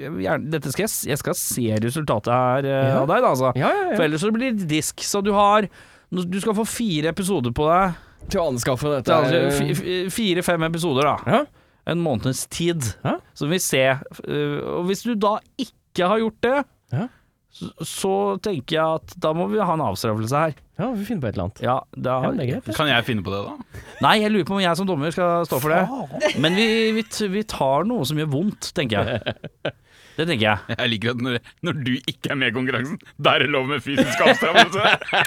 [SPEAKER 1] jeg vil gjerne- dette skal jeg, s- jeg skal se resultatet her eh,
[SPEAKER 2] Ja.
[SPEAKER 1] av deg, da, altså.
[SPEAKER 2] Ja, ja,
[SPEAKER 1] For
[SPEAKER 2] ja.
[SPEAKER 1] ellers så blir det disk. Så du har Du skal få fire episoder på deg.
[SPEAKER 2] Til å anskaffe dette er-
[SPEAKER 1] altså Fire-fem episoder, da.
[SPEAKER 2] Ja.
[SPEAKER 1] En måneds tid.
[SPEAKER 2] Ja.
[SPEAKER 1] Så vi ser eh, Og hvis du da ikke har gjort det,
[SPEAKER 2] Ja.
[SPEAKER 1] så, så tenker jeg at da må vi ha en avstraffelse her.
[SPEAKER 2] eh, Ja, vi finner på et eller annet.
[SPEAKER 1] Ja, da,
[SPEAKER 2] Ja, men det er greit. det.
[SPEAKER 3] Kan jeg finne på det, da?
[SPEAKER 1] Nei, jeg lurer på om jeg som dommer skal stå for det. Men vi, vi, t- vi tar noe som gjør vondt, tenker jeg. Det tenker jeg.
[SPEAKER 3] Jeg liker at når, når du ikke er med i konkurransen, da er det lov med fysisk avstraffelse.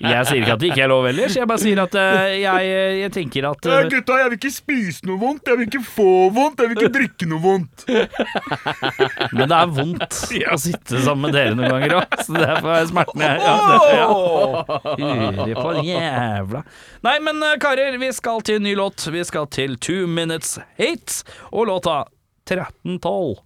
[SPEAKER 1] Jeg sier ikke at det ikke er lov ellers, jeg bare sier at eh, jeg, jeg tenker at eh,
[SPEAKER 3] gutta, jeg vil ikke spise noe vondt, jeg vil ikke få vondt, jeg vil ikke drikke noe vondt.
[SPEAKER 1] Men det er vondt å sitte sammen med dere noen ganger òg, så derfor er smerten jeg ja, det, ja. Lurer på jævla Nei, men eh, karer, vi skal til en ny låt. Vi skal til Two Minutes Hate og låta 1312.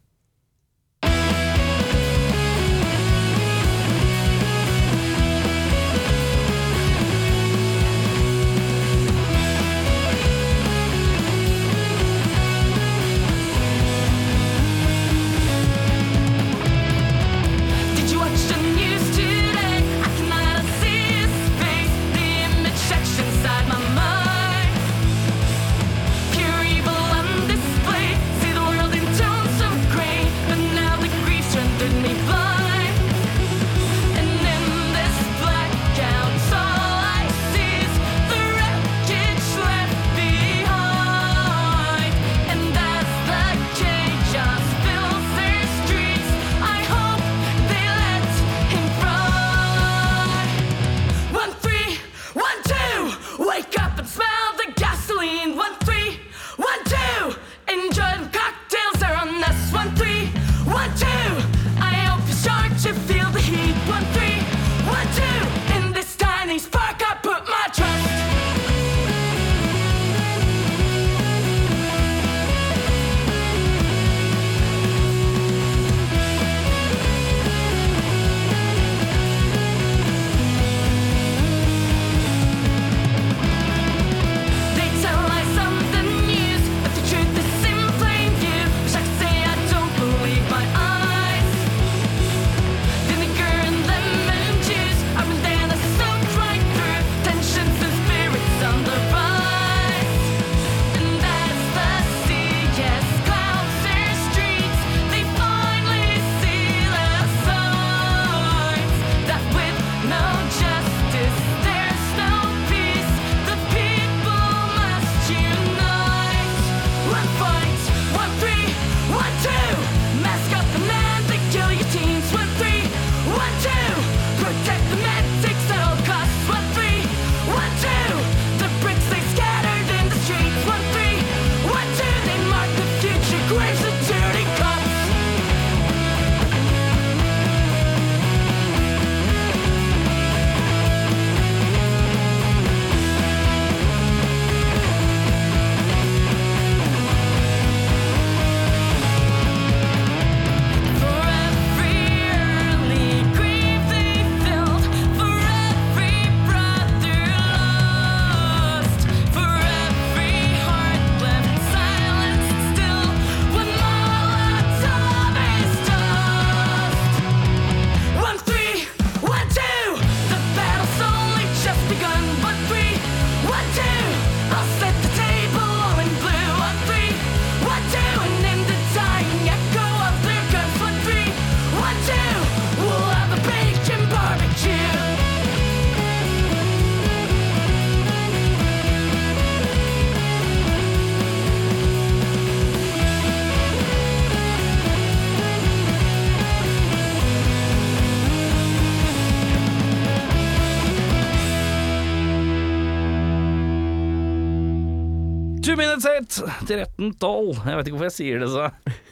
[SPEAKER 1] Two minutes eight til 1312. Jeg vet ikke hvorfor jeg sier det så.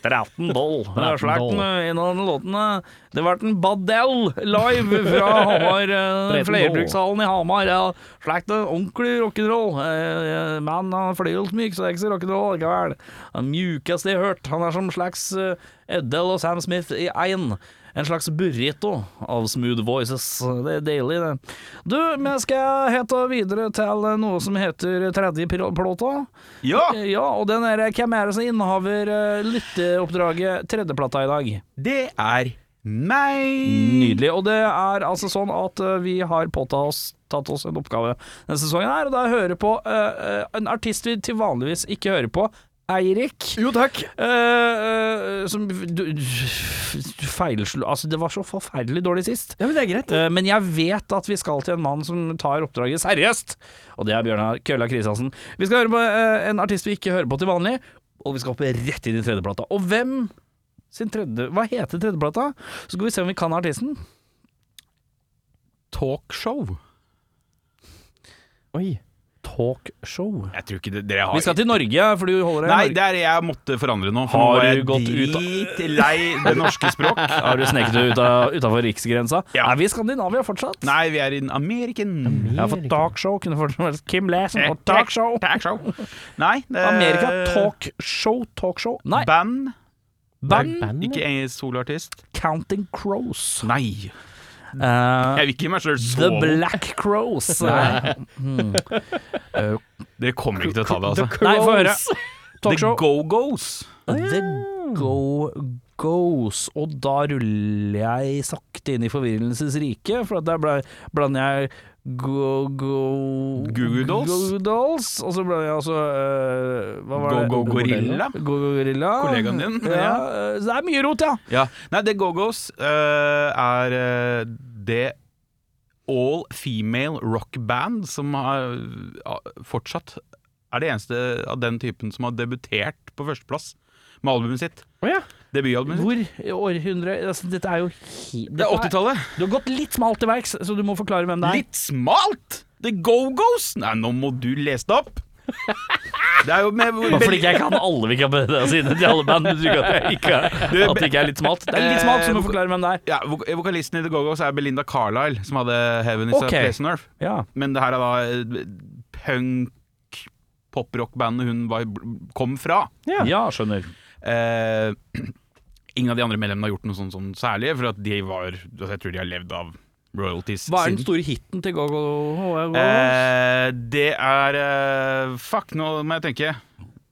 [SPEAKER 1] 1312. Det er svært med en av de låtene. Det ble en Badell live fra Hamar, eh,
[SPEAKER 2] 13-12.
[SPEAKER 1] flerbrukshallen i Hamar. Ja, slik det ordentlig rock'n'roll. Eh, eh, Men han er fløyelsmyk, så det er ikke så rock'n'roll likevel. Den mjukeste jeg har hørt. Han er som slags eh, Eddel og Sam Smith i én. En slags burrito av smooth voices. Det er deilig, det. Du, vi skal hete videre til noe som heter tredje pil- plåta.
[SPEAKER 3] Ja!
[SPEAKER 1] Ja, og den er Hvem er det som innehaver eh, lytteoppdraget tredjeplata i dag?
[SPEAKER 3] Det er meg!
[SPEAKER 1] Nydelig. Og det er altså sånn at eh, vi har påtatt oss, tatt oss en oppgave denne sesongen her, og det er å høre på eh, eh, en artist vi til vanligvis ikke hører på. Eirik.
[SPEAKER 2] Jo, takk.
[SPEAKER 1] Eh, eh, som du, du feilslo Altså, det var så forferdelig dårlig sist.
[SPEAKER 2] Ja, men det er greit.
[SPEAKER 1] Eh, Men jeg vet at vi skal til en mann som tar oppdraget seriøst, og det er Bjørnar Kølla Kristiansen. Vi skal høre på eh, en artist vi ikke hører på til vanlig, og vi skal hoppe rett inn i tredjeplata. Og hvem sin tredje Hva heter tredjeplata? Så skal vi se om vi kan artisten.
[SPEAKER 3] Talkshow.
[SPEAKER 1] Eh,
[SPEAKER 2] Oi.
[SPEAKER 1] Talkshow.
[SPEAKER 3] Jeg tror ikke det, dere har
[SPEAKER 1] Vi skal til Norge, for du holder deg
[SPEAKER 3] Ah, Nei,
[SPEAKER 1] i Norge.
[SPEAKER 3] det er jeg måtte forandre nå.
[SPEAKER 1] Har
[SPEAKER 3] For nå er
[SPEAKER 1] du
[SPEAKER 3] jeg
[SPEAKER 1] gått ut av-
[SPEAKER 3] dritlei det norske språk.
[SPEAKER 1] Har du sneket deg ut av- utafor riksgrensa?
[SPEAKER 3] Ja.
[SPEAKER 1] Er vi i Skandinavia fortsatt?
[SPEAKER 3] Nei, vi er in American.
[SPEAKER 1] Ja, for talkshow kunne fortsatt vært Kim Lassen
[SPEAKER 3] Eh,
[SPEAKER 1] og talkshow.
[SPEAKER 3] Talkshow. Nei, det er
[SPEAKER 1] Amerika, talkshow, talkshow. Nei,
[SPEAKER 3] Band.
[SPEAKER 1] band
[SPEAKER 3] Ikke en soloartist.
[SPEAKER 1] Counting Crows.
[SPEAKER 3] Nei.
[SPEAKER 1] Eh,
[SPEAKER 3] Jeg vil ikke gi meg sjøl så
[SPEAKER 1] The Black Crows. Nei,
[SPEAKER 3] Dere kommer ikke til å ta det, altså.
[SPEAKER 1] Nei få høre.
[SPEAKER 3] The
[SPEAKER 1] Talkshow.
[SPEAKER 3] Go-Go's.
[SPEAKER 1] The Go Goes. Og da ruller jeg sakte inn i forvirrelsens rike, for at der ble- blander jeg Go Go
[SPEAKER 3] Goo Goo Dolls.
[SPEAKER 1] Goo Goo Dolls, Og så blander jeg også eh, hva var
[SPEAKER 3] Go
[SPEAKER 1] det?
[SPEAKER 3] Go Gorilla.
[SPEAKER 1] Go Go Gorilla.
[SPEAKER 3] Kollegaen din,
[SPEAKER 1] Ja. eh, så det er mye rot, ja.
[SPEAKER 3] Ja. Nei, The Go-Go's eh, er eh, det all female rock band som har ja, fortsatt er det eneste av den typen som har debutert på førsteplass med albumet sitt.
[SPEAKER 2] Å ja.
[SPEAKER 3] Debutalbumet sitt.
[SPEAKER 1] Hvor i århundre altså, Dette er jo he-
[SPEAKER 3] Mm. Det er
[SPEAKER 1] dette
[SPEAKER 3] 80-tallet.
[SPEAKER 1] Du har gått litt smalt til verks, så du må forklare hvem det er.
[SPEAKER 3] Litt smalt! The Go-Go's! Nei, nå må du lese det opp! Det er jo med
[SPEAKER 1] Bare fordi ikke jeg kan alle Wikipedia sine til alle band, betyr ikke at jeg ikke er, at det ikke er litt smalt. Det er litt smalt, så du må forklare hvem det er.
[SPEAKER 3] ja, vok Vokalisten i The Go-Go's er Belinda Carlisle, som hadde Heaven Is
[SPEAKER 1] Ok.
[SPEAKER 3] a Place on Earth.
[SPEAKER 1] Ja.
[SPEAKER 3] Men det her er da eh, punk poprock-bandet hun var, kom fra.
[SPEAKER 2] Ja.
[SPEAKER 1] skjønner.
[SPEAKER 3] Eh, ingen av de andre medlemmene har gjort noe sånt, sånn særlig, for at de var altså, Jeg tror de har levd av royalties
[SPEAKER 1] Hva er den
[SPEAKER 3] siden.
[SPEAKER 1] store hiten til Go-Go?
[SPEAKER 3] Eh, det er eh, Fuck, nå må jeg tenke.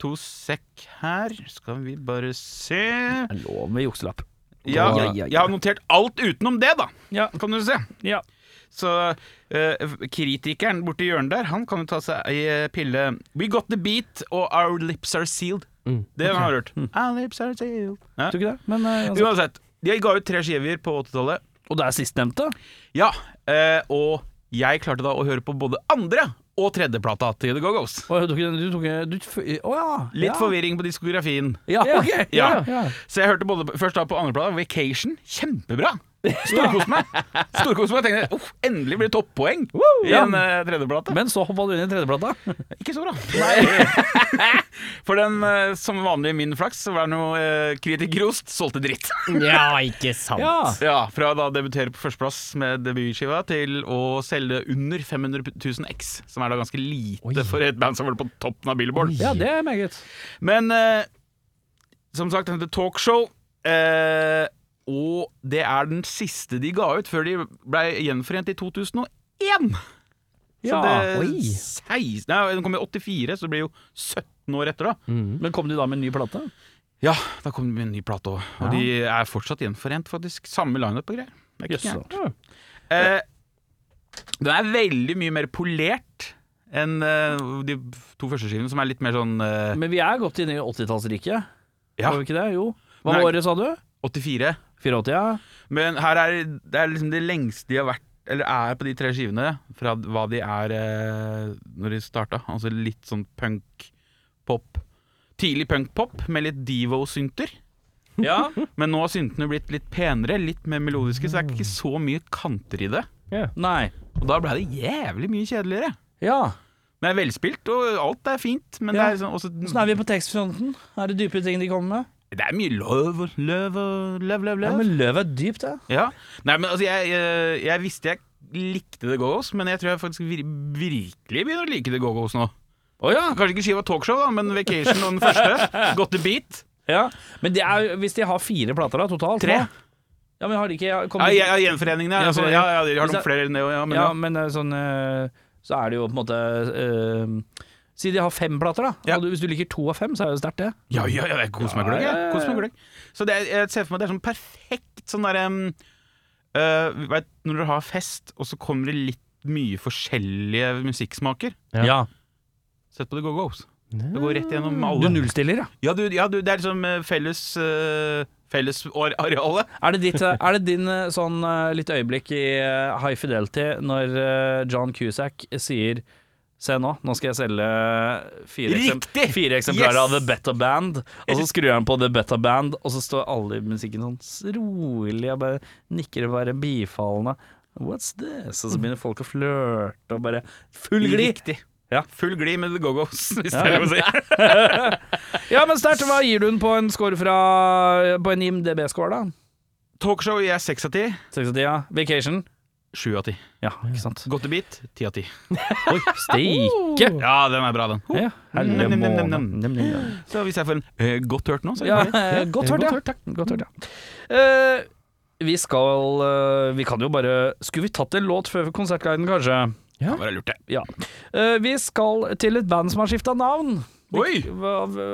[SPEAKER 3] To sekk her. Skal vi bare se
[SPEAKER 1] Det er lov med jukselapp.
[SPEAKER 3] ja,
[SPEAKER 2] Ja, ja, ja.
[SPEAKER 3] Jeg har notert alt utenom det, da,
[SPEAKER 1] Ja.
[SPEAKER 3] kan du se.
[SPEAKER 1] ja.
[SPEAKER 3] Så eh, kritikeren borti hjørnet der, han kan jo ta seg ei eh, pille We got the beat og Our lips are sealed.
[SPEAKER 2] Mm.
[SPEAKER 3] Det har jeg hørt. Our lips are sealed. Ja.
[SPEAKER 1] Tror ikke det, men eh, altså.
[SPEAKER 3] Uansett, de ga ut tre skiver på 80-tallet.
[SPEAKER 1] Og det er sistnevnte?
[SPEAKER 3] Ja, eh, og jeg klarte da å høre på både andre og tredjeplata til The Go-Go's.
[SPEAKER 1] Å, Du tok den- du tok den- du f- Å ja.
[SPEAKER 3] Litt
[SPEAKER 1] ja.
[SPEAKER 3] forvirring på diskografien.
[SPEAKER 1] Ja, ok.
[SPEAKER 3] Ja.
[SPEAKER 1] ja.
[SPEAKER 3] Så jeg hørte både, på- først da på andreplata, Vacation. Kjempebra! Storkost meg. Storkost meg. Tenkte uff, endelig blir det toppoeng i
[SPEAKER 1] Ja.
[SPEAKER 3] en eh, tredjeplate.
[SPEAKER 1] Men så hoppa du inn i tredjeplata.
[SPEAKER 3] Ikke så bra. Nei. For den, eh, som vanlig min flaks, så var det noe eh, kritikerrost solgte dritt.
[SPEAKER 2] ja, ikke sant.
[SPEAKER 1] Ja.
[SPEAKER 3] Ja, Fra da å debutere på førsteplass med debutskiva til å selge under 500 000 X, som er da ganske lite
[SPEAKER 2] Oi.
[SPEAKER 3] for et band som var på toppen av Billboard.
[SPEAKER 1] Ja, det er meget.
[SPEAKER 3] Men eh, som sagt, den heter Talkshow, eh, og det er den siste de ga ut før de ble gjenforent i 2001. Så
[SPEAKER 1] Ja.
[SPEAKER 3] det
[SPEAKER 2] oi.
[SPEAKER 3] 16, nei, Den kom i 84, så det blir jo 17 år etter, da.
[SPEAKER 2] Mm.
[SPEAKER 1] Men kom du da med en ny plate?
[SPEAKER 3] Ja, da kom det med en ny plate òg. Og de er fortsatt gjenforent, faktisk. Samme lineup og greier. Det er ikke
[SPEAKER 1] Jøss.
[SPEAKER 3] gærent. Eh, den er veldig mye mer polert enn eh, de to første skivene, som er litt mer sånn eh,
[SPEAKER 1] Men vi er godt inne i 80-tallsriket.
[SPEAKER 3] Ja.
[SPEAKER 1] Var vi ikke det? Jo. Hva var
[SPEAKER 3] Nei.
[SPEAKER 1] året, sa du?
[SPEAKER 3] 84.
[SPEAKER 1] 84, ja.
[SPEAKER 3] Men her er det er liksom det lengste de har vært, eller er på de tre skivene, fra hva de er eh, når de starta. Altså litt sånn punk-pop. Tidlig punk-pop med litt Divo-synter. Men nå har syntene blitt litt penere, litt mer melodiske, så det er ikke så mye kanter i det.
[SPEAKER 1] Nei.
[SPEAKER 3] Og da ble det jævlig mye kjedeligere.
[SPEAKER 1] Ja.
[SPEAKER 3] Det er velspilt, og alt er fint, men det
[SPEAKER 1] Ja.
[SPEAKER 3] er liksom også
[SPEAKER 1] Åssen er vi på tekstfronten? Er det dype ting de kommer med?
[SPEAKER 3] Det er mye løv og løv og løv, løv,
[SPEAKER 1] Ja,
[SPEAKER 3] løv.
[SPEAKER 1] men løv er dypt, det.
[SPEAKER 3] Ja. Nei, men altså, jeg, jeg, jeg visste jeg likte The Go-Go's, men jeg tror jeg faktisk vir virkelig begynner å like The Go-Go's nå. Å ja, kanskje ikke skiva Talkshow, da, men Vacation og den første. Got the beat.
[SPEAKER 1] Ja. Men det er, jo- hvis de har fire plater da, totalt
[SPEAKER 3] Tre.
[SPEAKER 1] nå- Ja, men har de ikke
[SPEAKER 3] Ja,
[SPEAKER 1] kommet,
[SPEAKER 3] ja, ja Gjenforeningen, ja. Altså, ja, ja. De har
[SPEAKER 1] Hvis jeg-
[SPEAKER 3] noen flere enn det òg, ja. Men
[SPEAKER 1] ja,
[SPEAKER 3] ja.
[SPEAKER 1] men eh, sånn eh, Så er det jo på en måte eh, Si de har fem plater, da.
[SPEAKER 3] Ja.
[SPEAKER 1] Og du, hvis du liker to av fem, så er det sterkt, det.
[SPEAKER 3] Ja, ja, ja, jeg koser meg gløgg.
[SPEAKER 1] Ja, ja, ja.
[SPEAKER 3] jeg. Koser meg gløgg. Så det, er- jeg ser for meg det er sånn perfekt sånn derre um, øh, vet, Når dere har fest, og så kommer det litt mye forskjellige musikksmaker.
[SPEAKER 2] Ja.
[SPEAKER 3] Sett på The Go-Go's. Det går rett gjennom
[SPEAKER 1] Du
[SPEAKER 3] alle.
[SPEAKER 1] nullstiller, ja.
[SPEAKER 3] Ja, du, ja, du det er liksom eh, felles uh, Fellesarealet.
[SPEAKER 1] Er det, ditt, eh, er det din eh, sånn eh, litt øyeblikk i eh, High Fidelity når eh, John Cusack sier Se nå, nå skal jeg selge fire,
[SPEAKER 3] Riktig!
[SPEAKER 1] fire eksemplarer
[SPEAKER 3] Yes!
[SPEAKER 1] av The Better Band. Og så skrur han på The Better Band, og så står alle i musikken sånn s- rolig og bare nikker og bare bifallende. What's this? Og så begynner folk å flørte og bare Full glid!
[SPEAKER 3] Riktig.
[SPEAKER 1] Ja.
[SPEAKER 3] Full glid med The Go-Go's, hvis det er lov å si.
[SPEAKER 1] Ja, men sterkt. Hva gir du den på en score fra På en IMDb-score, da?
[SPEAKER 3] Talkshow gir jeg seks av ti.
[SPEAKER 1] 6 av 10, ja. Vacation?
[SPEAKER 3] Sju av ti.
[SPEAKER 1] Ja, ikke sant.
[SPEAKER 3] Godt i bit. Ti av ti.
[SPEAKER 1] Oi, steike!
[SPEAKER 3] Ja, den er bra, den.
[SPEAKER 1] Ja,
[SPEAKER 3] nem,
[SPEAKER 1] herre
[SPEAKER 3] nem, nem,
[SPEAKER 1] Oh! måne.
[SPEAKER 3] nem.
[SPEAKER 1] Nem, nem, nem.
[SPEAKER 3] Så hvis jeg får en eh, godt hørt nå, så er det
[SPEAKER 1] Ja,
[SPEAKER 3] bra.
[SPEAKER 1] eh, godt hørt,
[SPEAKER 2] godt
[SPEAKER 1] ja. Godt hørt, ja. Eh, vi skal eh, Vi kan jo bare Skulle vi tatt en låt før konsertguiden, kanskje?
[SPEAKER 3] Det var lurt, det.
[SPEAKER 1] Ja. Eh, vi skal til et band som har skifta navn.
[SPEAKER 3] Oi!
[SPEAKER 1] Hva- v-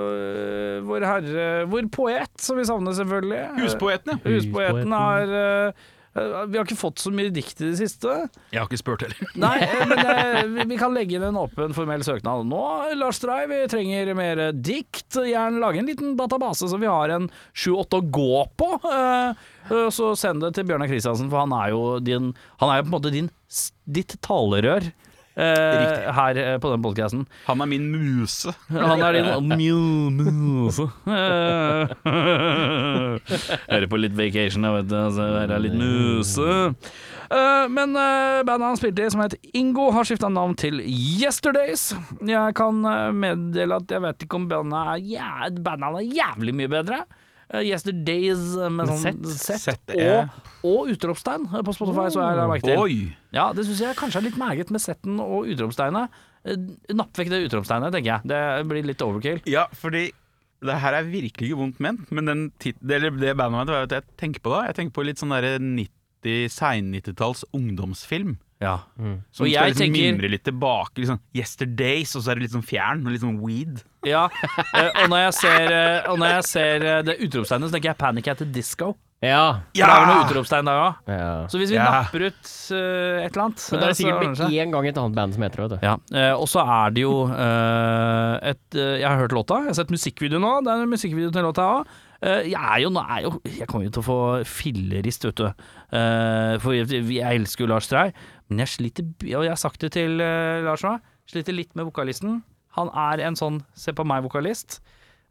[SPEAKER 1] Vår Herre Vår Poet, som vi savner, selvfølgelig.
[SPEAKER 3] Huspoeten, ja.
[SPEAKER 1] Huspoeten har eh, eh, Vi har ikke fått så mye dikt i det siste.
[SPEAKER 3] Jeg har ikke spurt heller.
[SPEAKER 1] Nei, eh, men eh, vi- vi kan legge inn en åpen formell søknad nå. Lars Drei, vi trenger mer eh, dikt. Gjerne lage en liten database så vi har en sju-åtte å gå på. eh, eh, Så send det til Bjørnar Kristiansen, for han er jo din Han er jo på en måte din, s- ditt talerør. eh, her eh, på den podkasten.
[SPEAKER 3] Han er min muse.
[SPEAKER 1] Han er din mjau, altså. muse. Eh, Hører på litt vacation, jeg vet det. så Her er litt muse. Eh, Men eh, bandet han spilte i, som het Ingo, har skifta navn til Yesterdays. Jeg kan eh, meddele at jeg vet ikke om bandet er, ja, bandet er jævlig mye bedre. Eh, Yesterdays med sånn Z,
[SPEAKER 3] Z, ja.
[SPEAKER 1] og, og utropstegn eh, på Spotify, så jeg la merke til.
[SPEAKER 3] Oi!
[SPEAKER 1] Ja, det syns jeg kanskje er litt meget med Z-en og utropstegnet. Eh, Napp vekk det utropstegnet, tenker jeg. Det blir litt overkill.
[SPEAKER 3] Ja, fordi det her er virkelig ikke vondt ment, men den tit eller det bandet mitt, hva er det jeg tenker på da? Jeg tenker på litt sånn derre 90 sein-90-talls ungdomsfilm.
[SPEAKER 1] Ja.
[SPEAKER 3] Som
[SPEAKER 1] Og
[SPEAKER 3] skal
[SPEAKER 1] jeg
[SPEAKER 3] liksom
[SPEAKER 1] tenker-
[SPEAKER 3] mimre litt tilbake. Liksom, 'Yesterdays', og så er det litt sånn fjern og litt sånn weed.
[SPEAKER 1] ja. eh, Og når jeg ser, eh, og når jeg ser eh, det utropstegnet, så tenker jeg Panic at the Disco.
[SPEAKER 2] Ja.
[SPEAKER 1] For Det er vel noe utropstegn der òg.
[SPEAKER 2] ja.
[SPEAKER 1] Så hvis vi
[SPEAKER 3] Ja.
[SPEAKER 1] napper ut eh, et eller annet
[SPEAKER 2] Men det
[SPEAKER 1] eh,
[SPEAKER 2] er
[SPEAKER 1] så
[SPEAKER 2] sikkert
[SPEAKER 1] ordner det
[SPEAKER 2] med
[SPEAKER 1] seg.
[SPEAKER 2] én gang et annet band som heter det. vet du.
[SPEAKER 1] Ja, eh, og så er det jo eh, et eh, Jeg har hørt låta, jeg har sett musikkvideo nå. Det er en musikkvideo til låta òg. jeg er jo, nå er jo Jeg kommer jo til å få fillerist, vet du. Eh, for jeg, jeg elsker jo Lars Trei, men jeg sliter b- Og jeg har sagt det til eh, Lars nå, sliter litt med vokalisten. Han er en sånn se på meg-vokalist.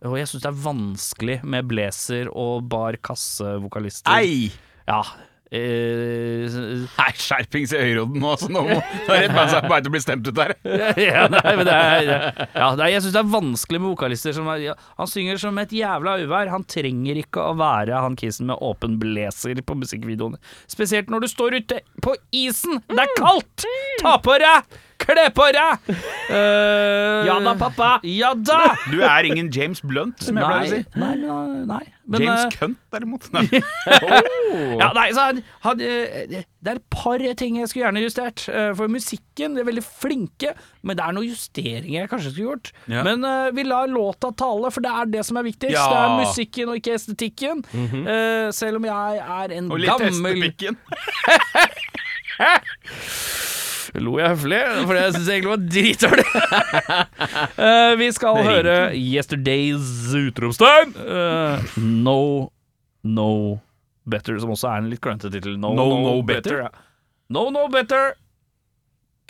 [SPEAKER 1] Og jeg syns det er vanskelig med blazer og bar kasse-vokalister.
[SPEAKER 3] Ei!
[SPEAKER 1] Ja. eh,
[SPEAKER 3] Nei, skjerpings i øyrodden nå, så nå må det er rett bandet som er på vei til å bli stemt ut der.
[SPEAKER 1] ja, nei, men det er, ja, det er, jeg syns det er vanskelig med vokalister som er, ja, Han synger som et jævla uvær. Han trenger ikke å være han kissen med åpen blazer på musikkvideoene. Spesielt når du står ute på isen! Det er kaldt! Ta på deg! Kle på deg! ja da, pappa. Ja da!
[SPEAKER 3] Du er ingen James Blunt, som jeg pleier å
[SPEAKER 1] Nei,
[SPEAKER 3] si.
[SPEAKER 1] nei, nei, nei. Men, eh,
[SPEAKER 3] James Cunt, derimot. Nei. Oh.
[SPEAKER 1] ja, nei, så han, han, eh, det er et par ting jeg skulle gjerne justert. eh, For musikken de er veldig flinke, men det er noen justeringer jeg kanskje skulle gjort.
[SPEAKER 3] Ja.
[SPEAKER 1] Men eh, vi lar låta tale, for det er det som er viktigst.
[SPEAKER 3] Ja. Mhm.
[SPEAKER 1] Det er musikken og ikke estetikken. Eh, selv om jeg er en
[SPEAKER 3] Og litt
[SPEAKER 1] gammel
[SPEAKER 3] hestepikken.
[SPEAKER 1] Lo jeg høflig? For det syns jeg egentlig var dritdårlig. Eh, vi skal
[SPEAKER 3] Det ringte.
[SPEAKER 1] høre Yesterdays utropstegn. Eh, no No Better, som også er en litt klønete tittel. No,
[SPEAKER 3] No No Better?
[SPEAKER 1] ja. No No Better.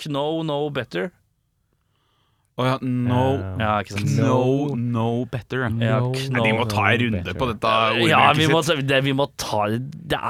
[SPEAKER 1] Kno No Better.
[SPEAKER 3] Å ja, no,
[SPEAKER 1] Ja, ikke sant.
[SPEAKER 3] no, no better. ja.
[SPEAKER 1] Ja,
[SPEAKER 2] No,
[SPEAKER 1] kno-
[SPEAKER 3] Nei, de må ta en runde på dette ordbruket
[SPEAKER 1] Ja, vi må,
[SPEAKER 3] sitt.
[SPEAKER 1] det, vi må ta Det er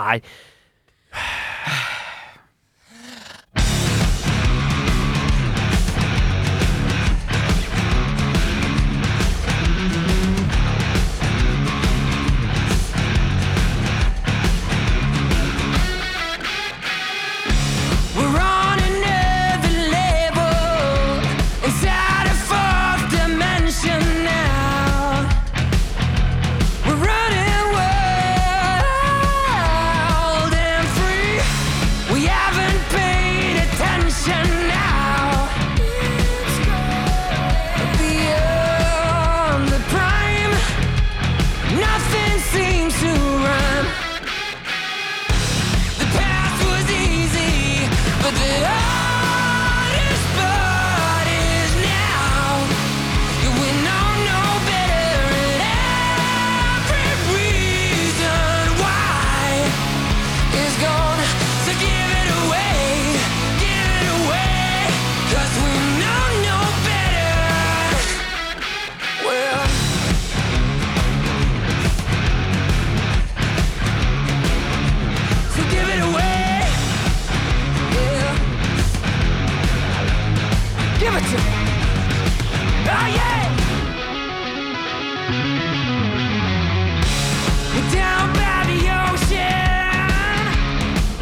[SPEAKER 6] Down by the ocean,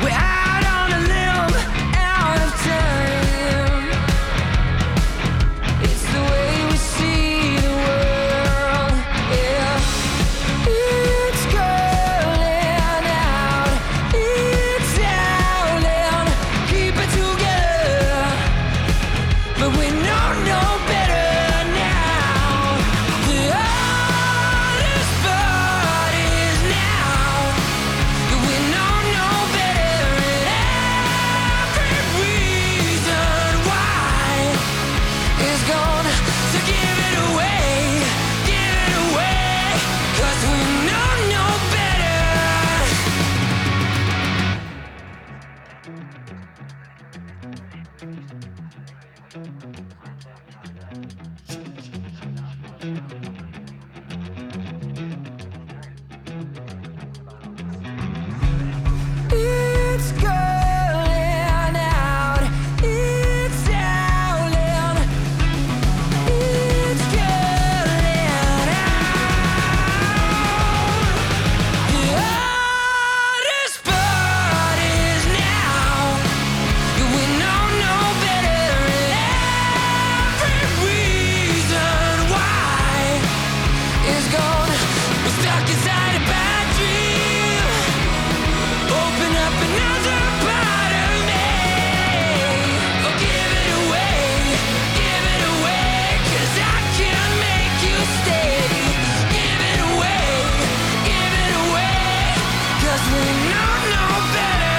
[SPEAKER 6] we're out on a limb, out of time. It's the way we see the world. Yeah, it's going out, it's out, keep it together. But we know no better now. The hardest part is now. That we know no better and every reason why is gone to give it away, give it away. 'Cause we know no better. It's going out. It's out. It's going out. The hardest part is now. We know no better. Every reason why is gone. We're stuck inside a bad dream. Open up another part of me. Oh, give it away, give it away, 'cause I can't make you stay. Give it away, give it away, 'cause we know no better.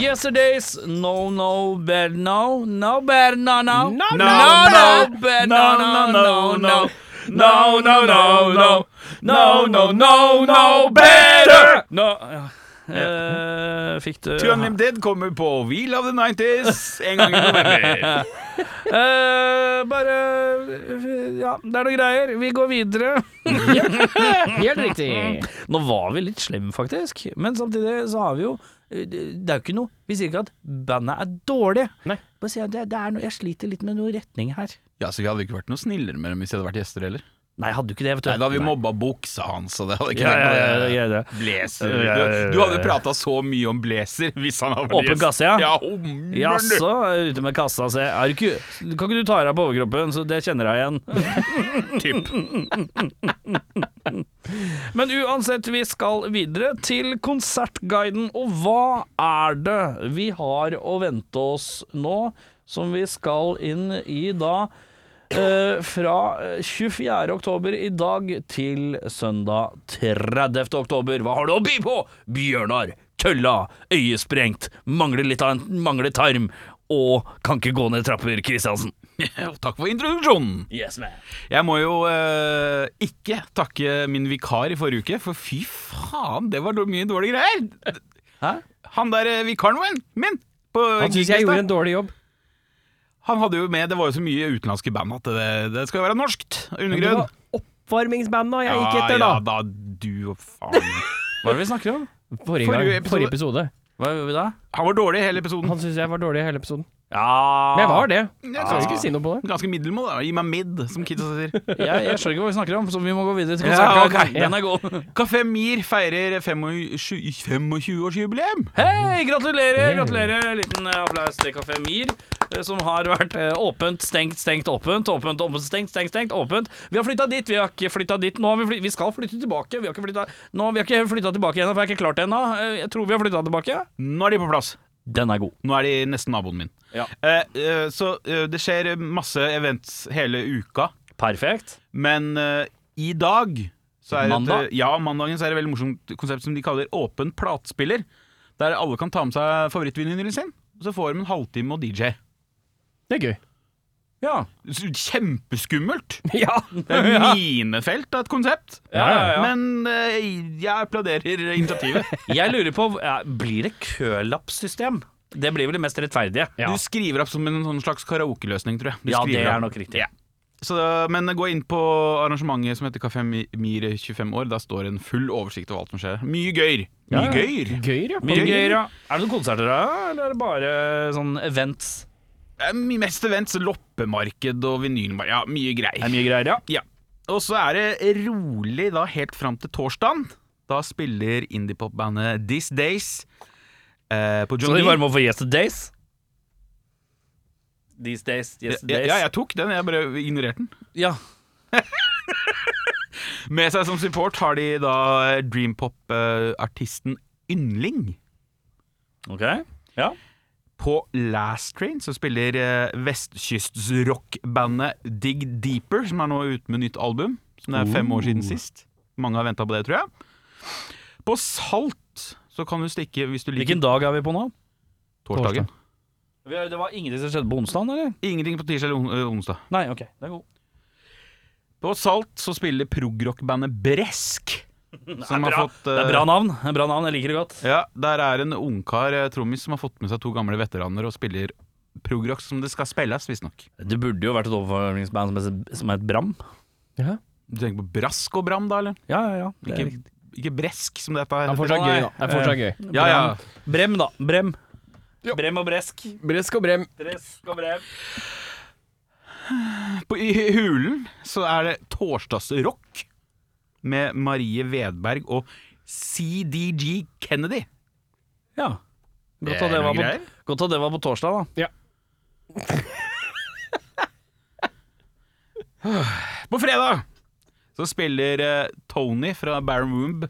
[SPEAKER 1] Yesterdays, no, no, bad, no, no, bad, no, no, no,
[SPEAKER 2] no,
[SPEAKER 1] no, bad, no, no, no, no, no, no, no, no, no, no, no, no, better! No, eh, fikk du
[SPEAKER 3] Two Unlim Dead kommer på We Love the 90s en gang i november.
[SPEAKER 1] Eh, Bare Ja, det er noen greier. Vi går videre.
[SPEAKER 2] Helt riktig.
[SPEAKER 1] Nå var vi litt slemme, faktisk, men samtidig så har vi jo Det er jo ikke noe Vi sier ikke at bandet er dårlig.
[SPEAKER 2] Nei.
[SPEAKER 1] Bare si at det, det er noe Jeg sliter litt med noe retning her.
[SPEAKER 3] Ja, så Vi hadde ikke vært noe snillere med dem hvis de hadde vært gjester heller.
[SPEAKER 1] Nei, hadde du ikke det, vet du.
[SPEAKER 3] Nei, Da hadde vi mobba buksa hans, og det hadde ikke
[SPEAKER 1] Ja, ja,
[SPEAKER 3] vært
[SPEAKER 1] ja,
[SPEAKER 3] noe
[SPEAKER 1] ja, ja, ja.
[SPEAKER 3] Blazer.
[SPEAKER 1] Ja, ja, ja, ja.
[SPEAKER 3] Du, du hadde prata så mye om blazer hvis han hadde
[SPEAKER 1] Åpen kasse, ja?
[SPEAKER 3] ja om-
[SPEAKER 1] Jaså, er ute med kassa og se. Er du ikke, kan ikke du ta deg på overkroppen, så det kjenner jeg igjen.
[SPEAKER 3] Typ.
[SPEAKER 1] Men uansett, vi skal videre til konsertguiden. Og hva er det vi har å vente oss nå, som vi skal inn i da? eh, fra eh, 24. oktober i dag til søndag 30. oktober. Hva har du å by på? Bjørnar, kølla, øyesprengt, mangler litt av en mangler tarm og kan ikke gå ned trapper, Kristiansen.
[SPEAKER 3] Og Takk for introduksjonen.
[SPEAKER 1] Yes, man.
[SPEAKER 3] Jeg må jo eh, ikke takke min vikar i forrige uke, for fy faen, det var dår- mye dårlige greier.
[SPEAKER 1] Hæ?
[SPEAKER 3] Han der eh, vikaren min, min på
[SPEAKER 2] Han syns jeg
[SPEAKER 3] giglista,
[SPEAKER 2] gjorde en dårlig jobb.
[SPEAKER 3] han hadde jo med Det var jo så mye utenlandske band at det, det skal jo være norskt.
[SPEAKER 2] Men Det
[SPEAKER 3] Undergrunn.
[SPEAKER 2] var oppvarmingsbanda jeg gikk etter,
[SPEAKER 3] ja,
[SPEAKER 2] da.
[SPEAKER 3] da du og faen.
[SPEAKER 1] Hva er det vi snakker om?
[SPEAKER 2] Forrige, gang,
[SPEAKER 3] Forrige episode.
[SPEAKER 2] forrige episode.
[SPEAKER 1] Hva gjør vi da?
[SPEAKER 3] Han var dårlig i hele episoden.
[SPEAKER 2] Han syns jeg var dårlig i hele episoden.
[SPEAKER 1] Ja
[SPEAKER 2] Men jeg var det.
[SPEAKER 3] Jeg
[SPEAKER 2] Så
[SPEAKER 3] tror
[SPEAKER 2] jeg
[SPEAKER 3] ikke
[SPEAKER 2] skulle si noe på det.
[SPEAKER 3] Ganske middelmål. da. Gi meg midd, som kidsa sier.
[SPEAKER 1] jeg, jeg skjønner ikke hva vi snakker om, så vi må gå videre til
[SPEAKER 3] Ja,
[SPEAKER 1] konserten.
[SPEAKER 3] ok.
[SPEAKER 1] Den er god.
[SPEAKER 3] Kafé Mir feirer 25-årsjubileum.
[SPEAKER 1] Hei, gratulerer! gratulerer Liten eh, applaus til Kafé Mir, eh, som har vært eh, åpent, stengt, stengt, åpent. Åpent, åpent, stengt, stengt, stengt, åpent. Vi har flytta dit, vi har ikke flytta dit. Nå har vi, flyt, vi skal flytte tilbake. Vi har ikke flytta Nå, vi har ikke flytta tilbake ennå, for jeg har ikke klart det ennå. Eh, Jeg tror vi har flytta tilbake.
[SPEAKER 3] Nå er de på plass.
[SPEAKER 1] Den er god.
[SPEAKER 3] Nå er de nesten naboen min.
[SPEAKER 1] Ja.
[SPEAKER 3] Eh, eh, så eh, det skjer masse events hele uka,
[SPEAKER 1] Perfekt.
[SPEAKER 3] men eh, i dag så er
[SPEAKER 1] Mandag?
[SPEAKER 3] Det, ja, mandagen så er det et veldig morsomt konsept som de kaller åpen platespiller. Der alle kan ta med seg favorittvinylen sin, og så får de en halvtime og DJ.
[SPEAKER 2] Det er gøy.
[SPEAKER 1] Ja.
[SPEAKER 3] Så Kjempeskummelt!
[SPEAKER 2] Ja.
[SPEAKER 3] Det er minefelt av et konsept.
[SPEAKER 1] Ja, ja, ja.
[SPEAKER 3] Men eh, jeg applauderer initiativet.
[SPEAKER 1] Jeg lurer på ja, Blir det kølappsystem? Det blir vel det mest rettferdige.
[SPEAKER 2] Ja.
[SPEAKER 3] Du skriver opp som en sånn slags karaokeløsning, tror jeg. Du
[SPEAKER 1] Ja,
[SPEAKER 3] skriver
[SPEAKER 1] det er
[SPEAKER 3] opp.
[SPEAKER 1] nok riktig.
[SPEAKER 3] Ja. Så, men gå inn på arrangementet som heter Kafé Mi- Mir 25 år. Der står en full oversikt over alt som skjer. Mye gøyr! Mye
[SPEAKER 1] Ja, ja.
[SPEAKER 3] gøyr!
[SPEAKER 2] Gøyr, ja.
[SPEAKER 1] Mye
[SPEAKER 3] Gøy.
[SPEAKER 1] gøyere. ja. Er det noen konserter da, eller er det bare sånn events?
[SPEAKER 3] Det er mye mest events. Loppemarked og vinylmarked. Ja, mye greier.
[SPEAKER 1] Det er mye greier, ja.
[SPEAKER 3] Ja. Og så er det rolig da helt fram til torsdagen. Da spiller indiepopbandet These Days eh, på
[SPEAKER 1] Så
[SPEAKER 3] John
[SPEAKER 1] de
[SPEAKER 3] Deere.
[SPEAKER 1] varmer opp for Yesterdays? These days,
[SPEAKER 3] Ja,
[SPEAKER 1] yesterdays.
[SPEAKER 3] ja, jeg tok den. Jeg bare ignorerte den.
[SPEAKER 1] ja.
[SPEAKER 3] Med seg som support har de da eh, dreampop-artisten eh, Yndling.
[SPEAKER 1] Ok. Ja.
[SPEAKER 3] På Last Train så spiller eh, vestkystrockbandet Dig Deeper, som er nå ute med nytt album. Som det er fem år siden sist. Mange har venta på det, tror jeg. På Salt så kan du stikke hvis du liker
[SPEAKER 1] Hvilken dag er vi på nå?
[SPEAKER 3] torsdagen.
[SPEAKER 1] Det var ingenting som skjedde på onsdagen, eller?
[SPEAKER 3] Ingenting på tirsdag eller on- ø, onsdag.
[SPEAKER 1] Nei, ok. Det er god.
[SPEAKER 3] På Salt så spiller progrockbandet Bresk. Som
[SPEAKER 1] det, er bra. det er
[SPEAKER 3] eh,
[SPEAKER 1] bra navn. Det er bra navn, Jeg liker det godt.
[SPEAKER 3] Ja, Der er en ungkar, eh, trommis, som har fått med seg to gamle veteraner og spiller progrock som det skal spilles, visstnok.
[SPEAKER 1] Det burde jo vært et overforvaringsband som, het- som het Bram.
[SPEAKER 2] Ja.
[SPEAKER 3] Du tenker på Brask og Bram, da, eller?
[SPEAKER 1] Ja, ja, ja. Det er
[SPEAKER 3] Ikke, ikke Bresk, som dette
[SPEAKER 2] Det er
[SPEAKER 3] her.
[SPEAKER 2] fortsatt
[SPEAKER 1] Nei.
[SPEAKER 2] gøy, da. Det er fortsatt gøy.
[SPEAKER 3] Ja, ja.
[SPEAKER 1] Brem, da. Brem. Brem og bresk.
[SPEAKER 2] Bresk og brem.
[SPEAKER 1] Bresk og brem.
[SPEAKER 3] På, I Hulen så er det torsdagsrock med Marie Vedberg og CDG Kennedy.
[SPEAKER 1] Ja. Godt at det,
[SPEAKER 3] noen
[SPEAKER 1] var på,
[SPEAKER 3] greier.
[SPEAKER 1] godt at det var på torsdag, da.
[SPEAKER 3] På fredag så spiller eh, Tony fra Baron Woomb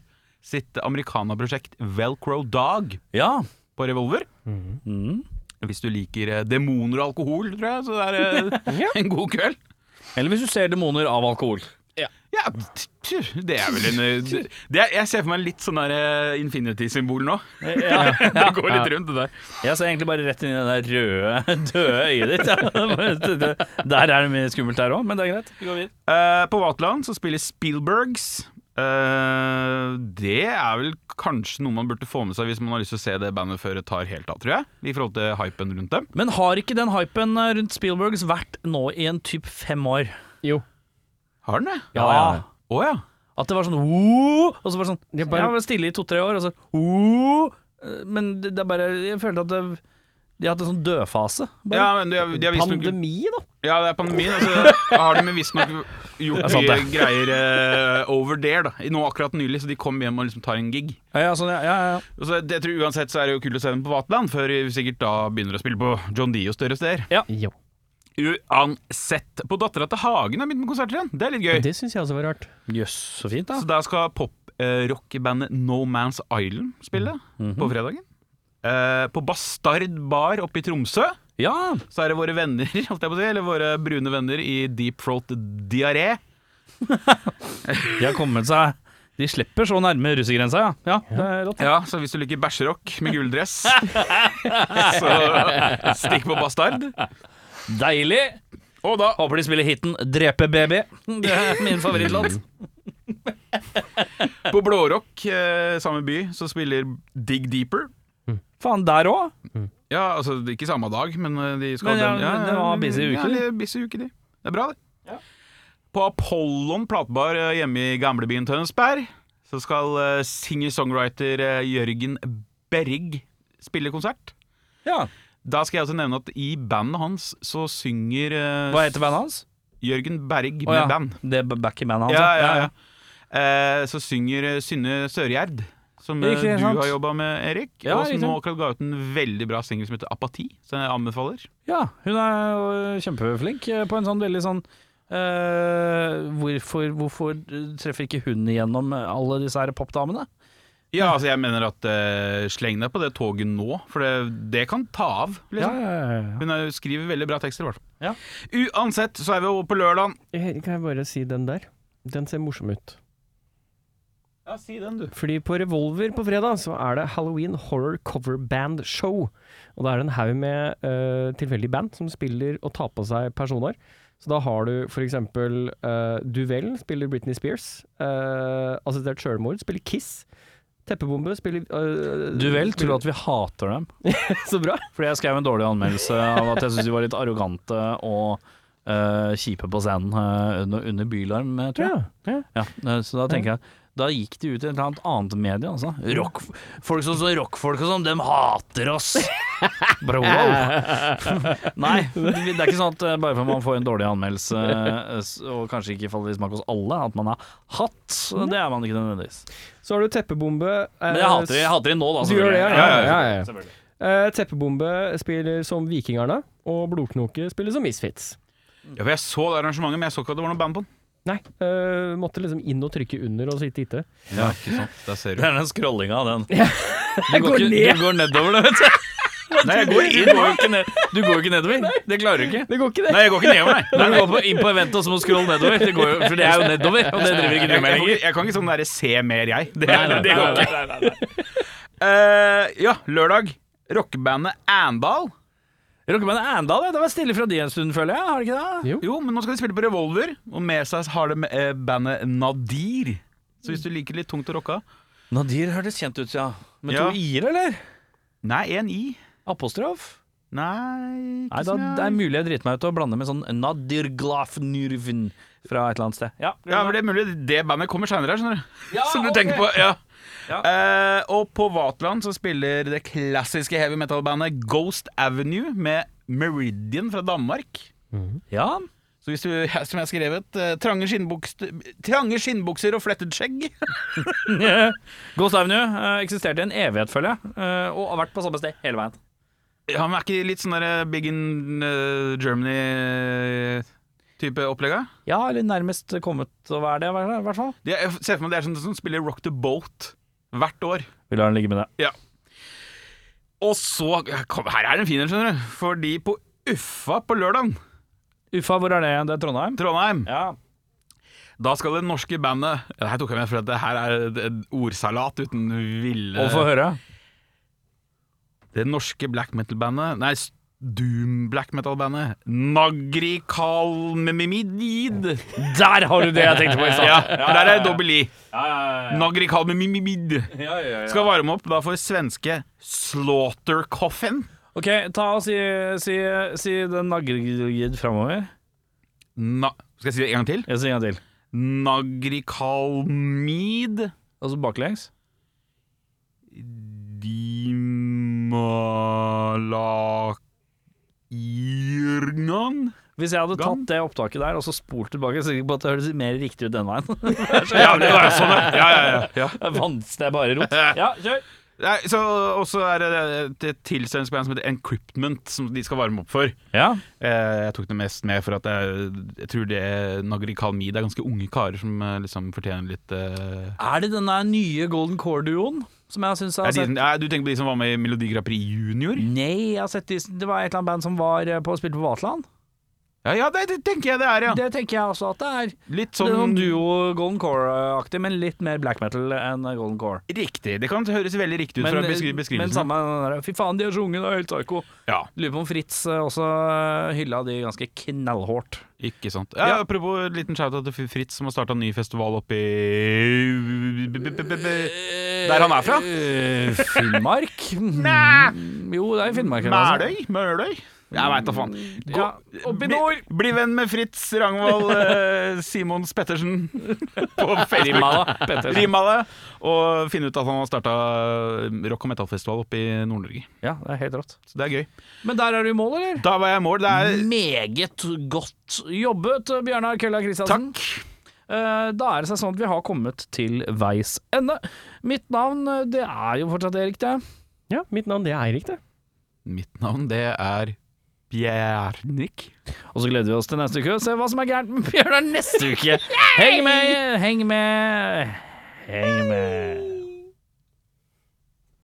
[SPEAKER 3] sitt americana-prosjekt Velcro Dog
[SPEAKER 1] Ja.
[SPEAKER 3] på revolver.
[SPEAKER 1] Mm.
[SPEAKER 3] Hvis du liker eh, demoner og alkohol, tror jeg, så er det eh, en god kveld.
[SPEAKER 1] Eller hvis du ser demoner av alkohol.
[SPEAKER 3] Ja, t- t- det er vel en eh, det er, Jeg ser for meg litt sånn der eh, infinity-symbol nå.
[SPEAKER 1] Ja,
[SPEAKER 3] Det går litt rundt, det der.
[SPEAKER 1] Jeg ser egentlig bare rett inn i det der røde, døde øyet ditt. Ja. Der er det mye skummelt her òg, men det er greit. Vi går videre.
[SPEAKER 3] Eh, på Vaterland så spiller Spielbergs. Eh, det er vel kanskje noe man burde få med seg hvis man har lyst til å se det bandet før det tar helt av, tror jeg. I forhold til hypen rundt dem.
[SPEAKER 1] Men har ikke den hypen eh, rundt Spielbergs vært nå i en typ fem år?
[SPEAKER 2] Jo.
[SPEAKER 3] Har den det?
[SPEAKER 2] Ja, ja, ja.
[SPEAKER 3] Å ja.
[SPEAKER 1] At det var sånn «Ooh», og så var det sånn
[SPEAKER 2] Det er
[SPEAKER 1] Jeg
[SPEAKER 2] bare-
[SPEAKER 1] var stille i to-tre år, og så «Ooh», eh, Men det det er bare Jeg følte at det, de har hatt en sånn dødfase. Bare.
[SPEAKER 3] ja men de, har- de har visst noe-
[SPEAKER 2] Pandemi, da.
[SPEAKER 3] Ja, det er pandemien. Altså, har de visstnok gjort
[SPEAKER 1] er sant,
[SPEAKER 3] mye
[SPEAKER 1] det.
[SPEAKER 3] greier eh, over there, da. I Nå akkurat nylig, så de kom hjem og liksom tar en gig.
[SPEAKER 1] Ja, ja, sånn, ja, ja, ja.
[SPEAKER 3] Og så, det, jeg tror Uansett så er det jo kult å se dem på Vaterland, før vi sikkert da begynner å spille på John Dio større steder.
[SPEAKER 2] Jo.
[SPEAKER 3] Uansett. På Dattera til Hagen har begynt med konserter igjen. Det er litt gøy.
[SPEAKER 2] Det syns jeg også var rart.
[SPEAKER 1] Jøss, så fint, da.
[SPEAKER 3] Så der skal poprockbandet No Man's Island spille
[SPEAKER 1] Mm. Mhm.
[SPEAKER 3] på fredagen. Eh, på Bastard bar oppe i Tromsø
[SPEAKER 1] Ja!
[SPEAKER 3] så er det våre venner, holdt jeg på å si, eller våre brune venner i Deep Throat Diaré.
[SPEAKER 1] De har kommet seg De slipper så nærme russegrensa, ja. ja. Det er rått.
[SPEAKER 3] Ja, så hvis du liker bæsjerock med gulldress, så stikk på Bastard.
[SPEAKER 1] Deilig!
[SPEAKER 3] Og da
[SPEAKER 1] Håper de spiller hiten 'Drepe baby'. Det er min favorittlåt.
[SPEAKER 3] På Blårock, eh, samme by, så spiller Dig Deeper.
[SPEAKER 1] Faen, der òg?
[SPEAKER 3] Ja, altså det er ikke samme dag, men eh, de skal
[SPEAKER 1] Men ja, men det var busy uke,
[SPEAKER 3] Ja,
[SPEAKER 1] de.
[SPEAKER 3] det er busy uke, de. Det er bra, det. På Apollon platebar eh, hjemme i gamlebyen Tønsberg så skal eh, singer-songwriter eh, Jørgen Berrig spille konsert.
[SPEAKER 1] Ja.
[SPEAKER 3] Da skal jeg også nevne at i bandet hans så synger eh,
[SPEAKER 1] Hva heter bandet hans?
[SPEAKER 3] Jørgen Berrig med
[SPEAKER 1] Å, ja.
[SPEAKER 3] band.
[SPEAKER 1] Det er back i bandet hans.
[SPEAKER 3] Ja, ja, ja. Eh, så synger eh, Synne Sørgjerd, som eh,
[SPEAKER 1] Riktig,
[SPEAKER 3] du
[SPEAKER 1] sant.
[SPEAKER 3] har jobba med, Erik. og
[SPEAKER 1] Ja,
[SPEAKER 3] som
[SPEAKER 1] riktig.
[SPEAKER 3] nå akkurat ga ut en veldig bra singel som heter Apati, som jeg anbefaler.
[SPEAKER 1] Ja, hun er jo kjempeflink eh, på en sånn veldig sånn eh, hvorfor, hvorfor eh, treffer ikke hun igjennom eh, alle disse her popdamene?
[SPEAKER 3] Ja, altså jeg mener at eh, sleng deg på det toget nå, for det, det kan ta av.
[SPEAKER 1] Ja,
[SPEAKER 3] Liksom.
[SPEAKER 1] ja, ja,
[SPEAKER 3] Hun er, skriver veldig bra tekster, i hvert fall.
[SPEAKER 1] Ja.
[SPEAKER 3] Uansett så er vi over på lørdag.
[SPEAKER 2] Eh, Kan jeg bare si den der? Den ser morsom ut.
[SPEAKER 3] Ja, si den, du.
[SPEAKER 2] Fordi på Revolver på fredag så er det Halloween Horror Cover Band Show. Og da er det en haug med uh, tilfeldige band som spiller og tar på seg personer. Så da har du f.eks. Uh, Duvel spiller Britney Spears. eh, assistert sjølmord spiller Kiss. Teppebombe spiller eh,
[SPEAKER 1] Du vel tror at vi hater dem?
[SPEAKER 2] Så bra!
[SPEAKER 1] Fordi jeg skrev en dårlig anmeldelse av at jeg syntes de var litt arrogante og eh, kjipe på scenen eh, under, under bylarm, eh, tror jeg.
[SPEAKER 2] Ja, ja.
[SPEAKER 1] Ja, eh, så da tenker jeg da gikk de ut i et eller annet annet medie, altså. Rock, folk som så rockfolk og sånn, dem hater oss! Bare wow! Nei, det er ikke sånn at eh, bare for man får en dårlig anmeldelse, eh, s- og kanskje ikke faller i smak hos alle, at man har hatt. Det er man ikke nødvendigvis.
[SPEAKER 2] Så har du teppebombe. eh,
[SPEAKER 1] Men jeg hater, jeg hater de nå, da.
[SPEAKER 2] Du gjør det, ja?
[SPEAKER 1] selvfølgelig.
[SPEAKER 2] ja, ja, ja, ja.
[SPEAKER 1] Selvfølgelig.
[SPEAKER 2] Eh, teppebombe spiller som Vikingerne, og Blodknoke spiller som Misfits.
[SPEAKER 3] Ja, for jeg så det arrangementet, men jeg så ikke at det var noe band på den.
[SPEAKER 2] Nei, eh, måtte liksom inn og trykke under og sitte ikke.
[SPEAKER 3] Ja, ikke sant. Der ser
[SPEAKER 1] Det
[SPEAKER 3] du.
[SPEAKER 1] er den scrollinga, den.
[SPEAKER 2] Jeg
[SPEAKER 1] Du går, ikke, du går nedover, det, vet du.
[SPEAKER 3] Nei, jeg går
[SPEAKER 1] Du
[SPEAKER 3] inn.
[SPEAKER 1] går jo ikke, ned, du går jo ikke nedover. Det klarer du ikke.
[SPEAKER 2] Det går ikke, det!
[SPEAKER 3] Nei, jeg går ikke nedover, nei.
[SPEAKER 1] Når du går på, inn på eventet og så må du scrolle nedover, det går jo, for det er jo nedover, og det driver ikke du
[SPEAKER 3] Jeg,
[SPEAKER 1] med
[SPEAKER 3] jeg,
[SPEAKER 1] lenger.
[SPEAKER 3] jeg, jeg kan ikke sånn derre se mer, jeg. Det,
[SPEAKER 1] Nei, nei,
[SPEAKER 3] det går ikke. Eh, ja, lørdag. Rockebandet Andal.
[SPEAKER 1] Rockebandet Andal, ja, det var stille fra de en stund, føler jeg. Har det ikke det?
[SPEAKER 2] Jo.
[SPEAKER 3] Jo, men nå skal de spille på Revolver, og med seg har de eh, bandet Nadir. Så hvis du liker litt tungt å rocke
[SPEAKER 1] Nadir hørtes kjent ut, ja. Med
[SPEAKER 3] Ja.
[SPEAKER 1] to i-er, eller?
[SPEAKER 3] Nei, én i.
[SPEAKER 1] Apostrof?
[SPEAKER 3] Nei,
[SPEAKER 1] Nei,
[SPEAKER 3] ikke
[SPEAKER 1] da,
[SPEAKER 3] som jeg-
[SPEAKER 1] det er mulig jeg driter meg ut og blander med sånn Nadir Glafnurvin fra et eller annet sted. Ja,
[SPEAKER 3] Ja, men det er mulig det bandet kommer seinere her, skjønner du.
[SPEAKER 1] Ja,
[SPEAKER 3] Som du
[SPEAKER 1] ok.
[SPEAKER 3] tenker på. Ja.
[SPEAKER 1] Ja.
[SPEAKER 3] Eh, og på Vatland så spiller det klassiske heavy metal-bandet Ghost Avenue med Meridian fra Danmark.
[SPEAKER 1] ja.
[SPEAKER 3] Så hvis du, som jeg har skrevet, eh, trange, skinnbukser, trange skinnbukser og flettet skjegg.
[SPEAKER 1] Ghost Avenue eh, eksisterte i en evighet, føler jeg, eh, og har vært på samme sted hele veien.
[SPEAKER 3] Ja, men Er ikke de litt sånn der Big in eh, Germany-type opplegg? da?
[SPEAKER 1] Ja, eller nærmest kommet å være det, i hvert fall.
[SPEAKER 3] De, jeg ser for meg det er sånn som spiller Rock the Boat hvert år.
[SPEAKER 1] Vi lar den ligge med det.
[SPEAKER 3] Ja. Og så kom, Her er det en fin en, skjønner du. Fordi på Uffa på lørdag,
[SPEAKER 1] Uffa, hvor er det? Det er Trondheim?
[SPEAKER 3] Trondheim,
[SPEAKER 1] Ja.
[SPEAKER 3] da skal det norske bandet Det her tok jeg med for at det her er et- et ordsalat uten ville
[SPEAKER 1] Og få høre.
[SPEAKER 3] Det norske black metal-bandet Nei, s- doom black metal-bandet Nagri Kalmimimid.
[SPEAKER 1] Der har du det jeg tenkte på i stad!
[SPEAKER 3] Ja, der er det dobbel i.
[SPEAKER 1] Ja, ja,
[SPEAKER 3] Nagri Kalmimimid.
[SPEAKER 1] ja, ja, ja.
[SPEAKER 3] Skal varme opp da for svenske Slaughter Coffin.
[SPEAKER 1] Ok, ta og si, si, si den naggrid framover.
[SPEAKER 3] Na skal jeg si det en gang til?
[SPEAKER 1] Jeg sier en gang til.
[SPEAKER 3] Nagrikalmid
[SPEAKER 1] Og så baklengs.
[SPEAKER 3] Dimalakirnan
[SPEAKER 1] Hvis jeg hadde
[SPEAKER 3] Gang.
[SPEAKER 1] tatt det opptaket der og så spolt tilbake, så er jeg sikker på at det høres mer riktig ut den veien.
[SPEAKER 3] Ja, det var jo sånn, ja, ja, ja, ja.
[SPEAKER 1] Vans, det er bare rot. Ja, kjør!
[SPEAKER 3] Nei, så, Og så er det et- et tilstelningsband som heter Encryptment, som de skal varme opp for.
[SPEAKER 1] Ja.
[SPEAKER 3] Eh, Jeg tok det mest med for at jeg, jeg tror det Nagrikalmid er ganske unge karer som eh, liksom fortjener litt eh,
[SPEAKER 1] Er det denne nye Golden Core-duoen som jeg syns jeg
[SPEAKER 3] er
[SPEAKER 1] har
[SPEAKER 3] de,
[SPEAKER 1] sett?
[SPEAKER 3] nei, Du tenker på de som var med i Melodi Grand Prix Junior?
[SPEAKER 1] Nei, jeg har sett de, det var et eller annet band som var eh, på spilte på Vatland.
[SPEAKER 3] Ja, ja, det, det tenker jeg det er, ja.
[SPEAKER 1] Det tenker jeg også at det er.
[SPEAKER 3] Litt
[SPEAKER 1] Det er
[SPEAKER 3] sånn
[SPEAKER 1] Sånn duo Golden Core-aktig, men litt mer black metal enn Golden Core.
[SPEAKER 3] Riktig. Det kan høres veldig riktig ut
[SPEAKER 1] Men, eh,
[SPEAKER 3] fra beskri beskrivelsen.
[SPEAKER 1] men samme den der, Fy faen, de har sunget, det er helt psyko.
[SPEAKER 3] Ja,
[SPEAKER 1] Lurer på om Fritz eh, også eh, hylla de ganske knallhårt.
[SPEAKER 3] ikke sant.
[SPEAKER 1] Ja.
[SPEAKER 3] Ja, apropos en liten shout-out til Fr- Fritz, som har starta ny festival oppe i Der han er fra?
[SPEAKER 1] Eh, Finnmark? Mm,
[SPEAKER 3] Nei.
[SPEAKER 1] Jo, det er i Finnmark. altså.
[SPEAKER 3] Mæløy? Møløy? Jeg veit da faen. Gå-
[SPEAKER 1] Ja, opp
[SPEAKER 3] bli-
[SPEAKER 1] i nord.
[SPEAKER 3] Bli venn med Fritz Rangvald eh, Simons Pettersen på Facebook.
[SPEAKER 1] Rimala, Pettersen.
[SPEAKER 3] Rim av det. Og finne ut at han har starta rock- og metallfestival oppe i Nord-Norge.
[SPEAKER 1] Ja, det er helt rått.
[SPEAKER 3] Så det er gøy.
[SPEAKER 1] Men der er du i mål, eller?
[SPEAKER 3] Da var jeg i mål. Det er
[SPEAKER 1] Meget godt jobbet, Bjørnar Kølla Kristiansen.
[SPEAKER 3] Takk.
[SPEAKER 1] Eh, Da er det seg sånn at vi har kommet til veis ende. Mitt navn, eh, det er jo fortsatt Erik, det.
[SPEAKER 2] Ja, mitt navn det er Eirik, det.
[SPEAKER 3] Mitt navn, det er Bjernik.
[SPEAKER 1] Og så gleder vi oss til neste uke og se hva som er gærent med Bjørnar neste uke. Heng med, heng med, heng med.